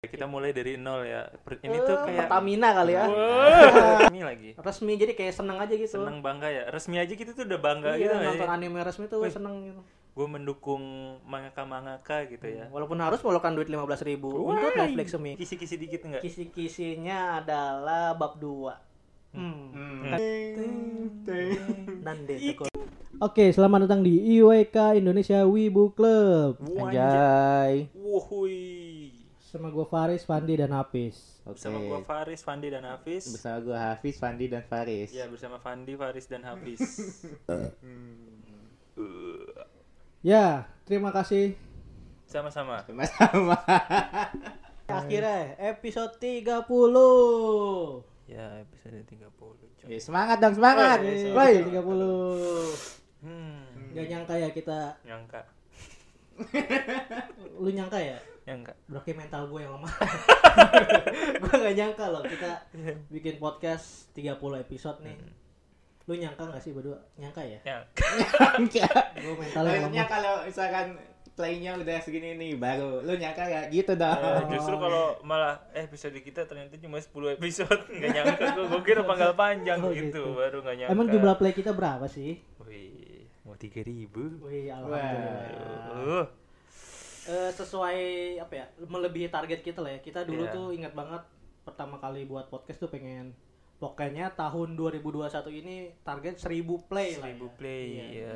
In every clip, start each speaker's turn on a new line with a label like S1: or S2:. S1: Kita mulai dari nol ya. Per- Ini tuh kayak
S2: Pertamina Eh, kali ya.
S1: Ini lagi.
S2: Resmi jadi kayak seneng aja gitu.
S1: Seneng bangga ya. Resmi aja kita tuh udah bangga
S2: iya,
S1: gitu gak
S2: nonton anime resmi tuh seneng gitu.
S1: Gue mendukung mangaka-mangaka gitu ya.
S2: Walaupun harus mengeluarkan duit 15.000 ribu untuk Hmm. Netflix semi.
S1: Kisi-kisi dikit enggak?
S2: Kisi-kisinya adalah bab 2. Hmm. Nande tekor. Oke, selamat datang di IWK Indonesia Wibu Club. Anjay.
S1: Wuhui.
S2: Sama gue Faris, Pandi, dan Apis.
S3: Oke.
S1: Bersama gua Faris, Fandi dan Hafiz.
S3: Bersama gue Hafiz, Fandi, dan Faris.
S1: Ya bersama Fandi, Faris dan Hafiz.
S2: Ya, terima kasih.
S1: Sama-sama.
S3: Sama-sama.
S2: Akhirnya episode 30.
S1: Ya episode 30. coy.
S2: Iya.
S3: Eh, semangat dong, semangat.
S2: Woi,
S3: Woi.
S2: 30.
S1: Hmm.
S2: Gak nyangka ya kita
S1: Nyangka.
S2: lu nyangka ya
S1: Nyangka.
S2: berarti mental gue yang lemah gue gak nyangka loh kita bikin podcast 30 episode nih lu nyangka gak sih berdua nyangka ya
S1: Nyangka.
S2: gue mental yang
S3: Harusnya
S2: lemah
S3: kalau misalkan playnya udah segini nih, baru lu nyangka ya
S1: Eh,
S3: gitu dong.
S1: justru
S2: Oh.
S1: kalau malah eh, episode kita ternyata cuma 10 episode nggak nyangka gue gue kira panggal panjang
S2: Oh,
S1: gitu.
S2: gitu.
S1: baru nggak nyangka
S2: emang jumlah play kita berapa sih
S1: Wih, mau tiga ribu
S2: Wih, alhamdulillah.
S1: uh,
S2: Eh, sesuai apa ya melebihi target kita lah ya kita dulu
S1: Iya.
S2: tuh ingat banget pertama kali buat podcast tuh pengen pokoknya tahun 2021 ini target 1000 play lah
S1: seribu
S2: ya.
S1: play
S2: Iya.
S1: ya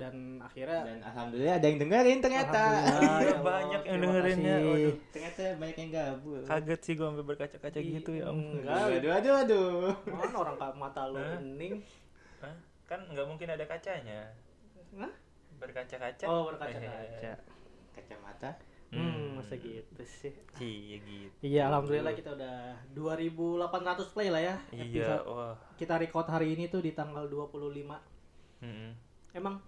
S2: dan akhirnya
S3: Dan alhamdulillah ada yang dengerin ternyata.
S2: Alhamdulillah,
S1: Iya,
S2: ya Allah.
S1: banyak yang
S2: Terima
S1: dengerin ya.
S2: kasih.
S1: Waduh.
S3: ternyata banyak yang gabut.
S1: kaget sih gue sampai berkaca-kaca
S2: Iya,
S1: gitu ya ampun.
S2: enggak.
S3: Aduh, aduh, aduh.
S2: Mana orang kak mata lu bening.
S1: Hah? kan nggak mungkin ada kacanya
S2: Hah?
S1: berkaca-kaca
S2: Oh, berkaca-kaca.
S3: Kacamata.
S2: Hmm, masa gitu sih.
S1: iya gitu
S2: Iya, alhamdulillah kita udah 2800 play lah ya.
S1: iya
S2: episode.
S1: wah
S2: Kita record hari ini tuh di tanggal 25.
S1: Mm-mm.
S2: Emang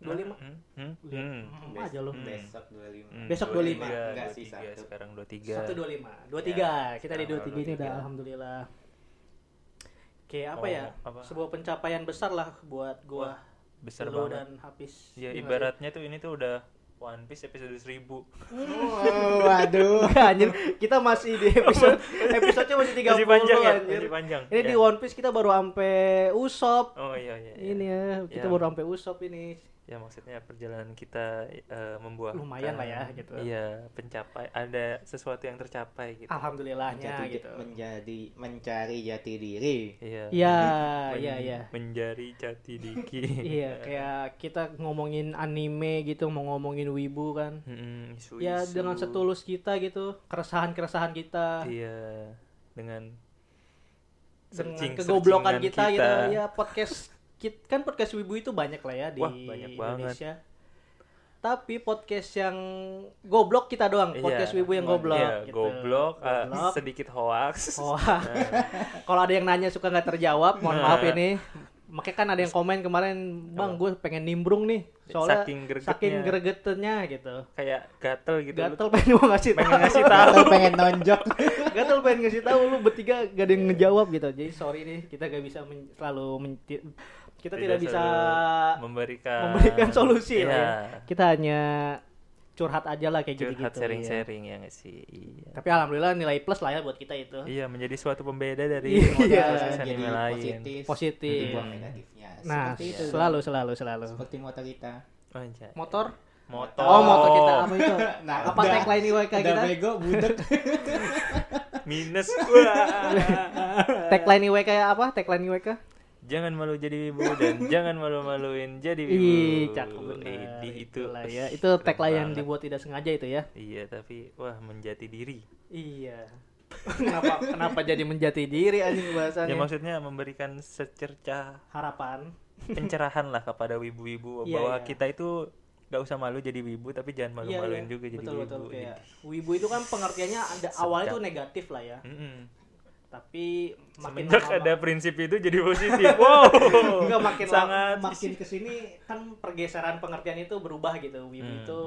S2: 25?
S1: Hmm, hmm,
S2: Lihat.
S1: hmm.
S2: Hmm, aja lu.
S1: Hmm.
S3: Besok 25.
S2: Besok
S1: 25,
S2: 25.
S3: Enggak sih,
S1: 23,
S3: satu.
S1: sekarang 23
S2: 1 25. 23. kita di
S1: sekarang
S2: 23 ini udah
S1: 23.
S2: alhamdulillah. Oke, apa
S1: Oh,
S2: ya?
S1: apa?
S2: Sebuah pencapaian besar lah buat gua,
S1: besar
S2: lu
S1: banget
S2: dan Hafiz.
S1: ya
S2: Iya nggak sih?
S1: ibaratnya tuh ini tuh udah One Piece episode 1000
S3: Wow, aduh.
S2: Nggak, anjir, kita masih di episode episodenya masih 30
S1: masih panjang ya
S2: anjir.
S1: masih panjang
S2: Ini
S1: Ya.
S2: di One Piece kita baru ampe Usop.
S1: oh iya iya, iya.
S2: Ini ya, kita
S1: Ya.
S2: baru sampai Usop ini.
S1: ya maksudnya perjalanan kita eh, membuat
S2: Lumayan lah ya, gitu.
S1: iya pencapai ada sesuatu yang tercapai
S2: Ah.
S1: gitu
S2: Alhamdulillahnya
S3: Menjadi,
S2: gitu.
S3: menjadi mencari jati diri.
S1: iya
S2: Iya,
S1: Men-
S2: iya, iya.
S1: menjadi jati diki
S2: Iya, kayak kita ngomongin anime gitu, mau ngomongin wibu kan.
S1: Mm-mm, isu-isu.
S2: Ya dengan setulus kita gitu, keresahan-keresahan kita,
S1: iya dengan
S2: dengan
S1: searching- searchingan
S2: kegoblokan kita, gitu. Ya podcast kit kan podcast wibu itu banyak lah ya di
S1: Wah, banyak banget.
S2: Indonesia. Tapi podcast yang goblok kita doang, podcast
S1: Iya,
S2: wibu yang goblok
S1: iya,
S2: gitu.
S1: goblok, Nah. eh,
S2: Goblok.
S1: sedikit hoax
S2: Wah, kalau ada yang nanya suka nggak terjawab, mohon
S1: Nah.
S2: maaf ini. Makanya kan ada yang komen kemarin, bang, gue pengen nimbrung nih, soalnya
S1: Saking gregetnya.
S2: saking gregetennya gitu.
S1: kayak gatel gitu lu
S2: Gatel pengen gue ngasih
S1: pengen ngasih
S2: tahu,
S1: tahu
S3: Atau pengen nonjok.
S2: gatel pengen ngasih tahu lu bertiga gak ada yang ngejawab gitu. Jadi sorry nih, kita gak bisa men- selalu men- ti- kita tidak, bisa
S1: selalu memberikan
S2: memberikan solusi lah
S1: Iya.
S2: ya. Kita hanya curhat aja lah kayak gitu-gitu.
S1: curhat
S2: iya.
S1: sharing-sharing ya nggak sih iya
S2: Tapi alhamdulillah nilai plus lah ya buat kita itu.
S1: Iya, menjadi suatu pembeda dari
S2: Iya.
S1: podcast
S3: Jadi
S1: anime lain.
S3: positif.
S2: Positif. Hmm.
S3: Dibuang negatifnya.
S2: Nah,
S3: Seperti itu.
S2: selalu selalu selalu.
S3: Seperti motor kita.
S1: Anjay.
S2: Motor
S1: Motor.
S2: Oh, motor kita apa itu?
S3: Nah,
S2: apa
S3: udah.
S2: tagline IWK
S3: Udah
S2: kita?
S3: bego, budek.
S1: Minus gua.
S2: Tagline IWK ya apa? Tagline IWK?
S1: jangan malu jadi wibu dan jangan malu-maluin jadi wibu.
S2: Ih, cakep bener.
S1: Idi, itu.
S2: Itulah ya.
S1: Ih,
S2: Itu
S1: keren
S2: tagline yang
S1: banget.
S2: dibuat tidak sengaja itu ya.
S1: Iya, tapi wah menjati diri.
S2: Iya. kenapa kenapa jadi menjati diri
S1: Ya
S2: anjing bahasannya?
S1: maksudnya memberikan secercah
S2: Harapan.
S1: pencerahan lah kepada wibu-wibu
S2: Iya,
S1: bahwa
S2: iya.
S1: kita itu gak usah malu jadi wibu tapi jangan malu-maluin juga jadi
S2: iya. betul,
S1: wibu. gitu.
S2: betul. Kayak wibu itu kan pengertiannya ada awalnya tuh negatif lah ya.
S1: Mm-mm.
S2: Tapi makin
S1: Semenjak
S2: lama-
S1: ada prinsip itu jadi positif. wow.
S2: Enggak makin lama-
S1: sangat
S2: makin kesini kan pergeseran pengertian itu berubah gitu. Wibu
S1: Hmm,
S2: itu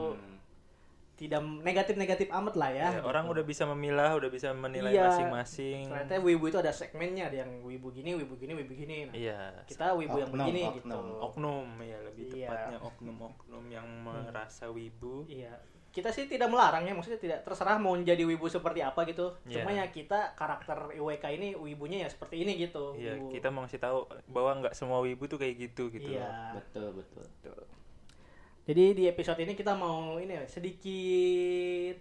S2: tidak negatif-negatif amat lah ya.
S1: Ya, orang udah bisa memilah, udah bisa menilai
S2: Iya.
S1: masing-masing.
S2: ternyata wibu itu ada segmennya ada yang wibu gini wibu gini wibu gini nah,
S1: Iya.
S2: kita wibu yang
S3: Oknum,
S2: begini
S3: oknum.
S2: gitu
S1: Oknum ya lebih
S2: Iya. Hmm.
S1: tepatnya oknum-oknum yang merasa wibu.
S2: iya kita sih tidak melarang ya maksudnya tidak terserah mau jadi wibu seperti apa gitu
S1: Iya.
S2: cuma ya kita karakter IWK ini wibunya ya seperti ini gitu
S1: Iya,
S2: Wibu.
S1: kita mau ngasih tahu bahwa nggak semua wibu tuh kayak gitu gitu.
S2: Iya.
S3: Betul, betul.
S2: jadi di episode ini kita mau ini ya, sedikit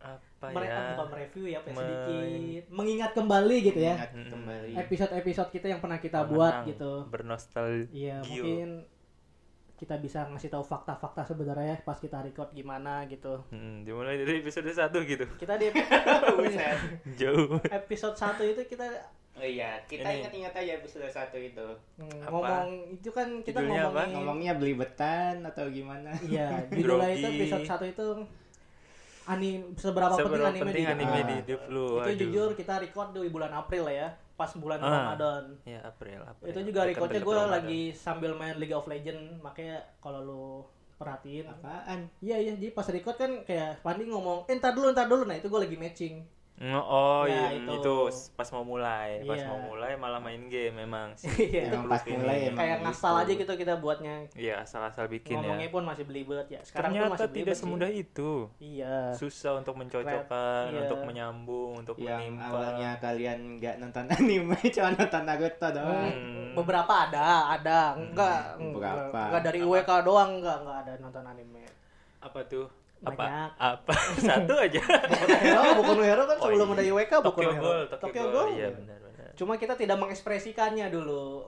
S1: Apa
S2: mere-
S1: ya?
S2: ah, bukan mereview ya, apa ya,
S1: Men- Iya.
S2: sedikit mengingat kembali gitu ya
S3: Ingat kembali.
S2: episode-episode kita yang pernah kita
S1: Menang,
S2: buat gitu
S1: Bernostalgia.
S2: iya mungkin kita bisa ngasih tahu fakta-fakta sebenarnya pas kita record gimana gitu
S1: Hmm, dimulai dari episode 1 gitu.
S2: kita di
S3: Buset.
S1: Jauh.
S2: episode 1 itu kita
S3: Oh iya, kita
S1: Ini.
S3: ingat-ingat aja episode satu itu.
S1: Apa?
S2: mm, ngomong itu kan kita
S1: Judulnya apa?
S2: ngomongin
S3: Ngomongnya beli betan atau gimana?
S2: iya judulnya itu
S1: Grogi.
S2: episode 1 itu anime seberapa,
S1: Seberapa
S2: penting anime
S1: penting
S2: di hidup.
S1: anime
S3: Ah.
S1: di hidup lu.
S2: itu
S1: Aduh.
S2: jujur kita record di bulan April lah ya pas bulan
S1: Ah.
S2: Ramadan
S1: Ya April, April.
S2: itu juga
S1: Dekat-dekat
S2: recordnya gue
S1: Ramadan.
S2: lagi sambil main League of Legends makanya kalau lu perhatiin
S3: Apaan?
S2: Iya iya, jadi pas record kan kayak Pandi ngomong, eh, ntar dulu, ntar dulu, nah itu gue lagi matching.
S1: Mm, Oh
S2: Ya,
S1: iya,
S2: itu.
S1: itu. pas mau mulai, pas
S2: Iya.
S1: mau mulai malah main game memang sih.
S2: Iya.
S1: Kita
S3: Emang pas
S1: perlu ini.
S3: mulai emang.
S2: kayak ngasal aja
S3: gitu.
S2: gitu kita buatnya.
S1: Iya, asal-asal bikin
S2: Ngomongnya
S1: ya.
S2: pun masih belibet ya. Sekarang pun
S1: Ternyata
S2: masih belibet
S1: tidak
S2: sih.
S1: semudah itu.
S2: Iya.
S1: Susah untuk mencocokkan,
S2: Iya.
S1: untuk menyambung, untuk
S3: Yang
S1: menimpa.
S3: Iya, awalnya kalian nggak nonton anime, cuma nonton Naruto doang.
S1: Hmm.
S2: Beberapa ada, ada. Enggak, enggak,
S3: Beberapa.
S2: enggak dari IWK doang enggak, enggak ada nonton anime.
S1: Apa tuh?
S2: Banyak.
S1: Apa? Apa? Satu aja.
S2: Boku no Hero, Boku no Hero kan
S1: Oh,
S2: sebelum
S1: iya.
S2: ada IWK Boku no
S1: Tokyo
S2: Hero.
S1: Ghoul, Tokyo Ghoul. Iya, benar-benar.
S2: Cuma kita tidak mengekspresikannya dulu.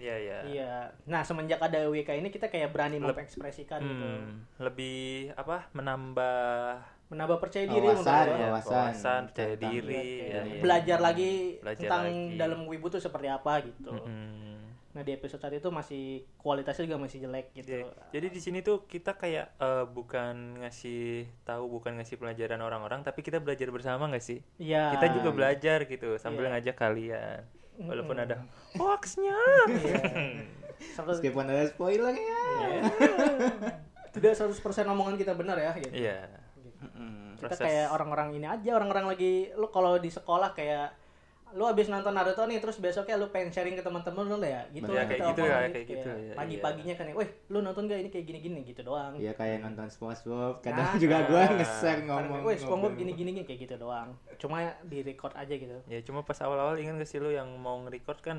S1: Iya, iya.
S2: Iya. Nah, semenjak ada IWK ini kita kayak berani
S1: Leb-
S2: mengekspresikan gitu.
S1: Hmm, lebih apa? Menambah
S2: Menambah percaya diri menurut
S3: Wawasan,
S2: gua.
S1: ya,
S3: wawasan.
S1: wawasan, percaya
S3: Tentang-
S1: diri,
S2: Iya,
S1: ya,
S2: kayak
S1: iya.
S2: belajar lagi
S1: Belajar
S2: tentang
S1: lagi. Hmm.
S2: dalam wibu tuh seperti apa gitu.
S1: Mm-mm.
S2: Nah di episode saat itu masih kualitasnya juga masih jelek
S1: Ya,
S2: gitu.
S1: Jadi di sini tuh kita kayak eh, bukan ngasih tahu, bukan ngasih pelajaran orang-orang, tapi kita belajar bersama nggak sih?
S2: Iya.
S1: Kita juga belajar gitu sambil
S2: Iya.
S1: ngajak kalian, walaupun
S2: Mm-mm.
S1: ada hoaxnya.
S2: Iya. Seratus-
S3: Meskipun ada spoiler ya.
S1: Iya.
S2: tidak 100% omongan kita benar ya gitu.
S1: Iya.
S3: Mm-mm.
S2: Kita
S1: proses-
S2: kayak orang-orang ini aja, orang-orang lagi lu kalau di sekolah kayak lu abis nonton Naruto nih terus besoknya lu pengen sharing ke teman-teman lu lah ya gitu
S3: Iya,
S2: lah
S3: kayak
S2: kita
S3: gitu
S1: ya,
S2: omongan
S1: kayak gitu, ya, iya.
S2: pagi-paginya kan ya, weh lu nonton gak ini kayak gini-gini gitu doang
S3: Iya kayak nonton SpongeBob, kadang
S2: Nah.
S3: juga gua ngeser ngomong.
S2: Wes, SpongeBob
S3: ngobrol.
S2: gini-gini gini, kayak gitu doang. Cuma di record aja gitu.
S1: Ya cuma pas awal-awal ingin ke sih lu yang mau nge-record kan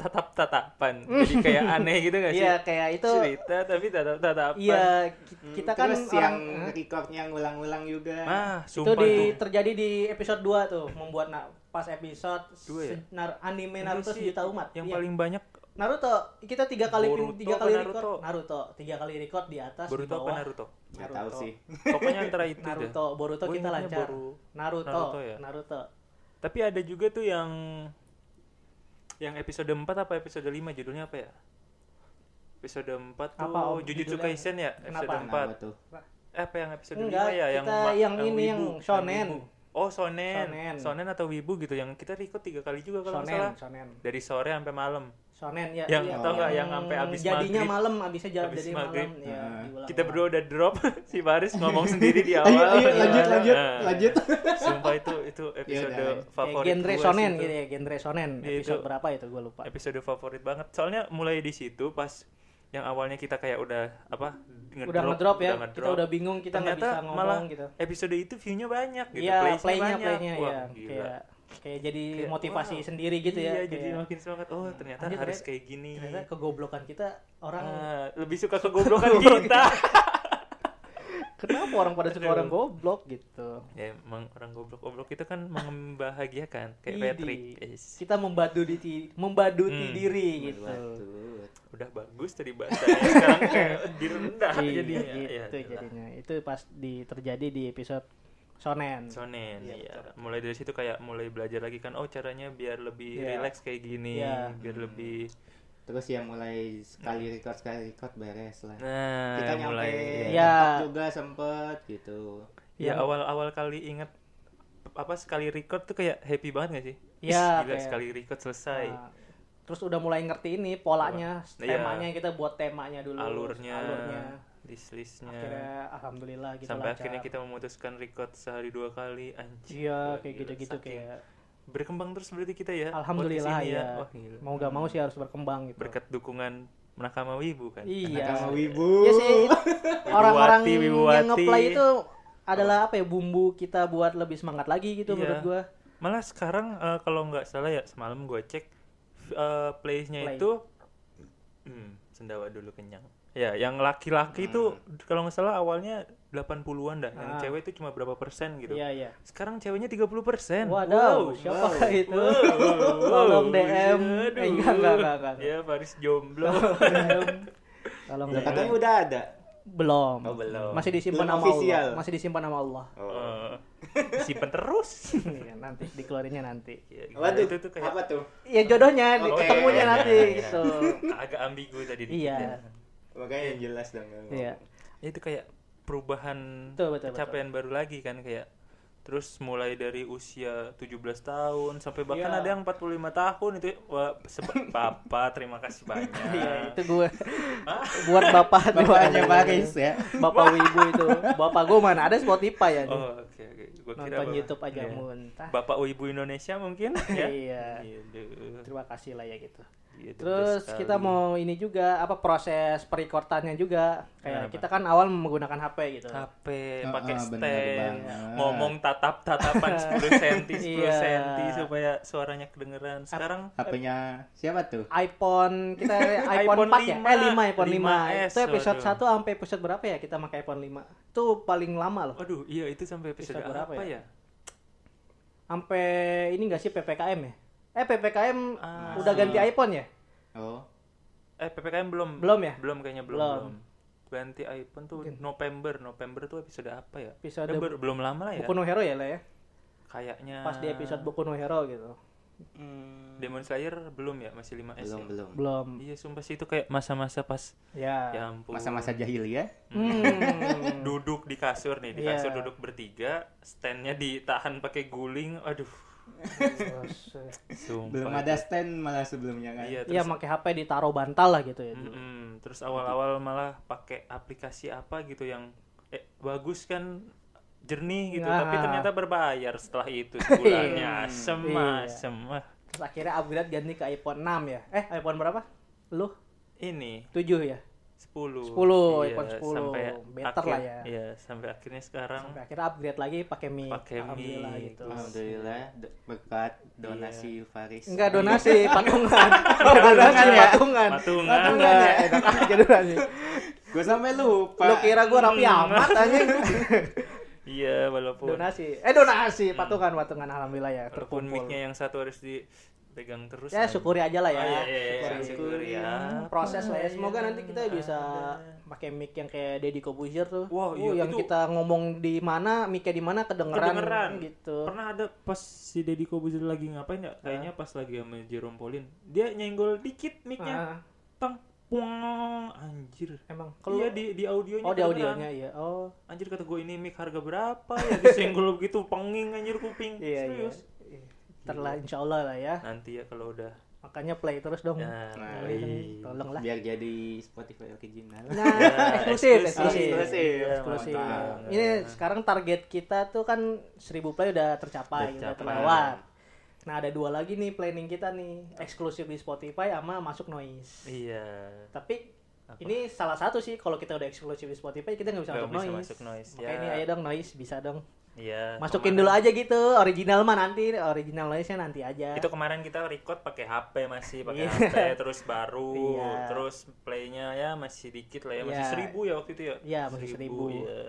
S1: tatap-tatapan. Jadi kayak aneh gitu nggak sih?
S2: Iya, kayak itu.
S1: Cerita tapi tatap-tatapan.
S2: Iya, ki-
S3: Hmm,
S2: kita kan
S3: terus yang
S2: orang
S3: recordnya ngulang-ulang juga.
S1: Nah,
S2: itu
S1: sumpah
S2: di
S1: tuh.
S2: terjadi di episode 2 tuh, membuat na- pas episode
S1: Dua ya?
S2: se- nar- anime
S1: Ini
S2: Naruto
S1: sih
S2: sejuta umat.
S1: Yang
S2: Iya.
S1: paling banyak
S2: Naruto kita tiga kali
S1: Boruto
S2: tiga
S1: apa
S2: kali
S1: Naruto?
S2: record Naruto tiga kali record di atas
S1: Boruto
S2: di
S1: apa
S2: bawah
S1: Naruto?
S3: Nggak tahu
S2: Naruto.
S3: sih.
S1: Pokoknya antara itu dah.
S2: Naruto Boruto
S1: Gua
S2: kita
S1: ingatnya
S2: lancar
S1: Boru-
S2: Naruto Naruto,
S1: Naruto ya? Tapi ada juga tuh yang yang episode 4 apa episode 5 judulnya apa ya? Episode 4 tuh
S2: Apa, Om?
S1: Jujutsu
S2: Judulnya?
S1: Kaisen ya? Episode
S2: Kenapa?
S3: Kenapa tuh?
S1: Eh, apa yang episode
S2: Enggak,
S1: 5 ya yang
S2: kita
S1: ma-
S2: yang ini, yang
S1: wibu,
S2: shonen.
S1: wibu. Oh, shonen.
S2: Shonen.
S1: shonen. atau wibu gitu yang kita record tiga kali juga kalau nggak
S2: Shonen
S1: salah.
S2: Shonen
S1: Dari sore sampai malam.
S2: Shonen ya
S1: Yang
S2: iya,
S1: atau nggak yang sampai abis
S2: jadinya
S1: maghrib.
S2: malam abisnya jalan
S1: Abis
S2: jadi
S1: maghrib.
S2: malam ya
S3: Nah.
S2: diulang-ulang.
S1: Kita berdua udah drop si Baris ngomong sendiri di awal.
S3: Ayo, ayo,
S1: Nah,
S3: lanjut, lanjut,
S1: nah.
S3: lanjut.
S1: Sumpah itu itu episode
S3: Iya, udah.
S1: favorit
S2: Kayak Ya,
S1: gua
S2: genre
S1: sih
S2: shonen
S1: itu.
S2: gitu ya genre shonen
S1: Iya,
S2: episode
S1: itu.
S2: berapa itu gue lupa
S1: episode favorit banget. Soalnya mulai di situ pas yang awalnya kita kayak udah apa
S2: udah ngedrop
S1: udah
S2: ya kita
S1: ngedrop.
S2: udah bingung kita nggak
S1: Ternyata
S2: bisa ngomong
S1: malah
S2: gitu
S1: episode itu view-nya banyak gitu,
S2: iya
S1: plays-nya
S2: playnya
S1: banyak.
S2: playnya
S1: Wah,
S2: ya
S1: gila.
S2: kayak kayak jadi
S1: Kayak,
S2: motivasi
S1: wow.
S2: sendiri gitu ya
S1: Iya, jadi
S2: kayak-
S1: makin semangat. Oh, ternyata
S2: Lanjut,
S1: harus
S2: Red.
S1: kayak gini.
S2: ternyata kegoblokan kita orang
S1: Ah, lebih suka kegoblokan kita.
S2: kenapa orang pada suka
S1: Aduh.
S2: orang goblok gitu
S1: ya, emang orang goblok-goblok itu kan membahagiakan kayak
S2: Idi.
S1: Patrick. Yes.
S2: kita membaduti membaduti
S1: Hmm.
S2: diri gitu
S3: Waduh.
S1: Udah bagus dari bahasanya sekarang kayak direndah
S2: Iya,
S1: jadinya. Ya,
S2: gitu
S1: itulah.
S2: jadinya itu pas di terjadi di episode shonen
S1: Sonen,
S2: Iya,
S1: iya.
S2: betul.
S1: Mulai dari situ kayak mulai belajar lagi kan, oh caranya biar lebih
S2: Iya.
S1: relax kayak gini,
S2: Iya.
S1: biar lebih.
S3: Terus ya mulai sekali record sekali record beres lah.
S1: Hmm. Nah,
S3: Kita nyampe
S1: mulai.
S2: Iya.
S1: Ya,
S3: record juga sempet gitu.
S1: ya awal-awal kali inget apa sekali record tuh kayak happy banget gak sih? Ih,
S2: Iya,
S1: Gila
S2: kayak-
S1: sekali record selesai.
S2: Nah, terus udah mulai ngerti ini polanya,
S1: Pola. Iya.
S2: temanya kita buat temanya dulu,
S1: alurnya,
S2: alurnya.
S1: list-listnya.
S2: Akhirnya alhamdulillah gitu
S1: Sampai
S2: lancar.
S1: akhirnya kita memutuskan record sehari dua kali anjir.
S2: Iya,
S1: Wah,
S2: kayak
S1: gila,
S2: gitu-gitu
S1: saking
S2: kayak
S1: berkembang terus berarti kita ya.
S2: alhamdulillah
S1: podcast ini
S2: ya.
S1: Wah, gila.
S2: Mau gak mau sih harus berkembang gitu.
S1: berkat dukungan Menakama Wibu kan.
S2: Iya.
S3: Nakama wibu.
S2: Iya sih. Orang-orang
S1: Wibuwati,
S2: yang
S1: Wibuwati.
S2: ngeplay itu adalah apa ya bumbu kita buat lebih semangat lagi gitu
S1: Iya.
S2: menurut gua.
S1: Malah sekarang eh, kalau nggak salah ya semalam gue cek eh, playsnya
S2: Play.
S1: itu hmm, sendawa dulu kenyang. Ya, yang laki-laki itu kalau nggak salah awalnya 80-an dah. Yang
S2: Hmm. Ah.
S1: cewek itu cuma berapa persen gitu.
S2: Iya iya.
S1: Sekarang ceweknya 30 persen.
S2: Waduh, siapa itu? Tolong DM. Eh, enggak, enggak, enggak, enggak.
S1: Ya, Faris jomblo.
S2: Tolong
S1: Iya.
S3: Lah,
S2: DM.
S3: katanya udah ada.
S2: belum.
S3: Oh, belum.
S2: Masih disimpan
S3: Belum
S2: nama
S3: official.
S2: Allah. Masih disimpan nama Allah.
S3: Oh.
S1: Simpen Eh, terus.
S2: Iya, nanti dikeluarinnya nanti.
S1: Ya, gimana
S3: Oh. Waduh,
S1: itu tuh kayak
S3: apa tuh?
S2: Ya jodohnya, di-
S3: Oke.
S2: ketemunya
S1: Oh,
S2: nanti
S1: Iya, iya.
S2: gitu.
S1: agak ambigu tadi dikit
S2: Iya.
S1: ya.
S3: Makanya yang jelas dong. nggak ngomong.
S2: Iya.
S1: Ya, itu kayak perubahan
S2: Betul, betul,
S1: pencapaian baru lagi kan kayak terus mulai dari usia 17 tahun sampai bahkan
S2: Iya.
S1: ada yang 45 tahun itu wah seba- papa terima kasih banyak.
S2: Iya, itu gue buat bapak terima
S3: Bapaknya
S2: kasih.
S3: Paris ya.
S2: Bapak Wibu itu. Bapak gue mana ada Spotify ya. nih.
S1: Oh, oke oke. Gua kira
S2: Nonton
S1: bapak-
S2: YouTube aja
S1: Iya.
S2: muntah.
S1: Bapak Ibu Indonesia mungkin ya.
S2: Iya.
S1: Gitu.
S2: Terima kasih lah ya gitu.
S1: Gitu
S2: Terus
S1: sekali.
S2: kita mau ini juga apa proses perekordannya juga. Kayak
S1: Kenapa?
S2: kita kan awal menggunakan HP gitu.
S1: HP
S3: Ah,
S1: pakai
S3: ah, benar
S1: stand,
S3: banget.
S1: ngomong tatap-tatapan 10 senti 10
S2: Iya.
S1: senti supaya suaranya kedengeran. Sekarang
S3: HP-nya siapa tuh?
S2: iPhone kita
S1: iPhone
S2: iPhone 4 ya? Eh 5 iPhone
S1: 5S,
S2: 5. Itu episode
S1: waduh.
S2: 1 sampai episode berapa ya kita pakai iPhone 5? Itu paling lama loh.
S1: aduh iya itu sampai episode
S2: Episode
S1: berapa
S2: berapa
S1: ya?
S2: Sampai ini enggak sih PPKM ya? Eh PPKM
S1: Ah.
S2: udah ganti iPhone ya?
S3: Oh.
S1: Eh PPKM belum. Eh,
S2: Belum ya?
S1: Belum kayaknya belum.
S2: Belum.
S1: belum. Ganti iPhone tuh
S2: Mungkin.
S1: November. November tuh episode apa ya?
S2: Episode
S1: Eh, baru- belum lama lah ya. Ah.
S2: Boku no Hero ya lah ya.
S1: Kayaknya
S2: Pas di episode Boku no Hero gitu. Hmm.
S1: Demon Slayer belum ya? Masih 5S
S3: Belum,
S1: ya?
S3: belum.
S2: Belum.
S1: Iya sumpah sih itu kayak masa-masa pas
S2: Ya.
S1: ya ampun.
S3: Masa-masa ya? jahiliyah.
S2: Hmm.
S1: duduk di kasur nih di
S2: Iya.
S1: kasur duduk bertiga standnya ditahan pakai guling aduh
S2: Terus, eh,
S1: sumpah
S3: Belum ada stand malah sebelumnya kan.
S1: iya
S2: Iya
S1: terus
S2: pakai HP ditaruh bantal lah gitu
S1: Hmm.
S2: ya. dulu.
S1: Mm-mm. terus awal-awal malah pakai aplikasi apa gitu yang eh, bagus kan jernih gitu
S2: Nah.
S1: tapi ternyata berbayar setelah itu sebulannya asem
S2: Iya.
S1: asem ah.
S2: Terus akhirnya upgrade ganti ke iPhone 6 ya. Eh iPhone berapa? Lu?
S1: ini
S2: 7 ya?
S1: 10
S2: 10, iPhone 10.
S1: sampai
S2: Better
S1: akhir-
S2: lah ya.
S1: iya, sampai akhirnya sekarang
S2: Sampai akhirnya upgrade lagi pakai Mi.
S1: Pakai Mi.
S2: Alhamdulillah gitu.
S3: Alhamdulillah do- berkat
S1: Iya.
S3: donasi Faris.
S2: Enggak donasi, patungan. Oh, donasi
S3: Patungan ya?
S2: patungan.
S1: Patungan.
S2: ya, enak aja donasi.
S3: Gue sampai lupa.
S2: Lu kira gua rapi
S1: Hmm.
S2: amat anjing.
S1: iya walaupun
S2: donasi. Eh donasi, patungan, patungan alhamdulillah ya
S1: walaupun
S2: terkumpul.
S1: mic-nya yang satu harus dipegang terus
S2: Ya
S1: kan.
S2: syukuri aja lah ya.
S1: Oh, iya, iya, iya,
S2: Syukuri.
S1: syukuri ya.
S2: Proses lah ya. Semoga nanti kita
S1: iya,
S2: bisa pakai mic yang kayak Deddy Kobuzier tuh.
S1: Wah,
S2: Uh,
S1: iya,
S2: yang
S1: itu-
S2: kita ngomong di mana, mic-nya di mana kedengeran,
S1: kedengeran
S2: gitu.
S1: pernah ada pas si Deddy Kobuzer lagi ngapain ya kayaknya pas lagi sama Jerome Pauline dia nyenggol dikit mic-nya
S2: Ah,
S1: tang puang anjir
S2: emang kalau
S1: iya di di audionya
S2: Oh, di
S1: kedengeran.
S2: audionya iya. Oh.
S1: anjir kata gue ini mic harga berapa ya disenggol begitu penging anjir kuping
S2: Iya, iya.
S1: serius
S2: Iya. Ntar lah insya Allah lah ya.
S1: nanti ya kalau udah
S2: Makanya play terus dong.
S1: nah,
S3: Nah,
S1: iya.
S3: iya.
S2: Tolong lah.
S3: Biar jadi Spotify
S2: Nah,
S3: original.
S1: iya.
S2: eksklusif, eksklusif.
S3: eksklusif.
S2: Eksklusif.
S3: Mantap.
S2: Ini sekarang target kita tuh kan 1000 play udah tercapai,
S1: Tercapai.
S2: udah terlewat. Nah, ada dua lagi nih planning kita nih, eksklusif di Spotify sama masuk noise.
S1: iya
S2: Tapi
S1: Apa?
S2: ini salah satu sih kalau kita udah eksklusif di Spotify kita nggak bisa,
S1: Nggak
S2: masuk,
S1: bisa
S2: noise.
S1: masuk noise,
S2: Makanya
S1: ya.
S2: ini ayo dong noise bisa dong.
S1: iya
S2: Masukin dulu
S1: kemarin-
S2: aja gitu, original mah nanti, original noise-nya nanti aja.
S1: itu kemarin kita record pakai HP masih pakai
S2: Iya.
S1: HP terus baru
S2: Iya.
S1: terus playnya ya masih dikit lah ya masih
S2: Iya.
S1: seribu ya waktu itu ya
S2: Iya, masih seribu.
S1: ya.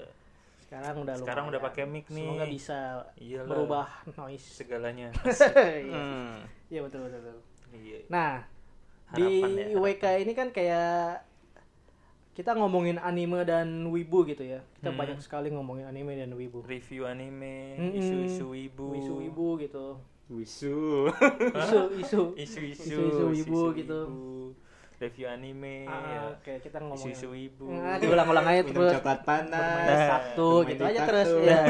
S2: Sekarang udah
S1: Sekarang udah pakai mic nih.
S2: Semoga bisa
S1: Iyalah.
S2: merubah noise.
S1: segalanya
S2: Iya
S3: Hmm.
S2: Iya, betul betul. betul.
S1: Iya.
S2: Nah,
S1: Harapan ya,
S2: di WK ini kan kayak kita ngomongin anime dan wibu gitu ya. Kita
S1: Hmm.
S2: banyak sekali ngomongin anime dan wibu.
S1: review anime
S2: Mm-mm.
S1: isu-isu wibu
S2: Isu wibu gitu.
S3: Wisu.
S2: Isu isu.
S1: isu-isu
S2: Isu-isu wibu
S1: isu-isu
S2: gitu.
S1: wibu. review anime ya.
S2: Ah, Oke, kita ngomongin.
S1: isu-isu wibu Eh,
S2: Nah, diulang-ulang aja
S3: Minum
S2: terus.
S3: coklat
S2: Bermain
S3: panas.
S2: Sabtu
S3: bermain
S2: gitu
S3: di
S2: aja
S3: kartu.
S2: terus. Iya.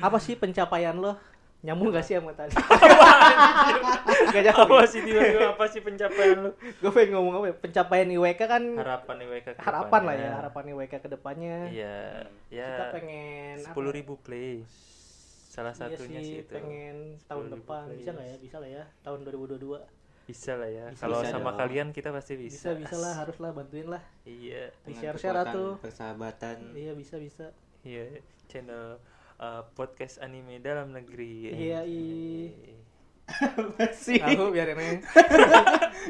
S2: Apa sih pencapaian lo? Nyambung gak sih sama tadi? Gak jauh.
S1: apa sih tiba-tiba apa sih pencapaian lu
S2: Gue pengen ngomong apa ya? Pencapaian IWK kan
S1: harapan IWK ke
S2: harapan lah
S1: depannya.
S2: ya harapan IWK ke depannya
S1: iya ya
S2: kita pengen
S1: sepuluh
S2: apa?
S1: ribu play salah
S2: Iya
S1: satunya
S2: sih,
S1: sih itu ya.
S2: pengen tahun depan
S1: players.
S2: bisa nggak ya bisa lah ya tahun 2022
S1: Bisa lah ya.
S3: Bisa,
S1: Kalau
S3: bisa
S1: sama
S3: dong.
S1: kalian kita pasti bisa.
S2: bisa bisa lah haruslah bantuin lah
S1: Iya.
S2: di
S3: Dengan
S2: share share
S3: kekuatan
S2: atau
S3: persahabatan
S1: Hmm.
S2: iya bisa bisa
S1: Iya, channel uh, podcast anime dalam negeri.
S2: Iya, i.
S3: apa sih
S2: aku biarin aja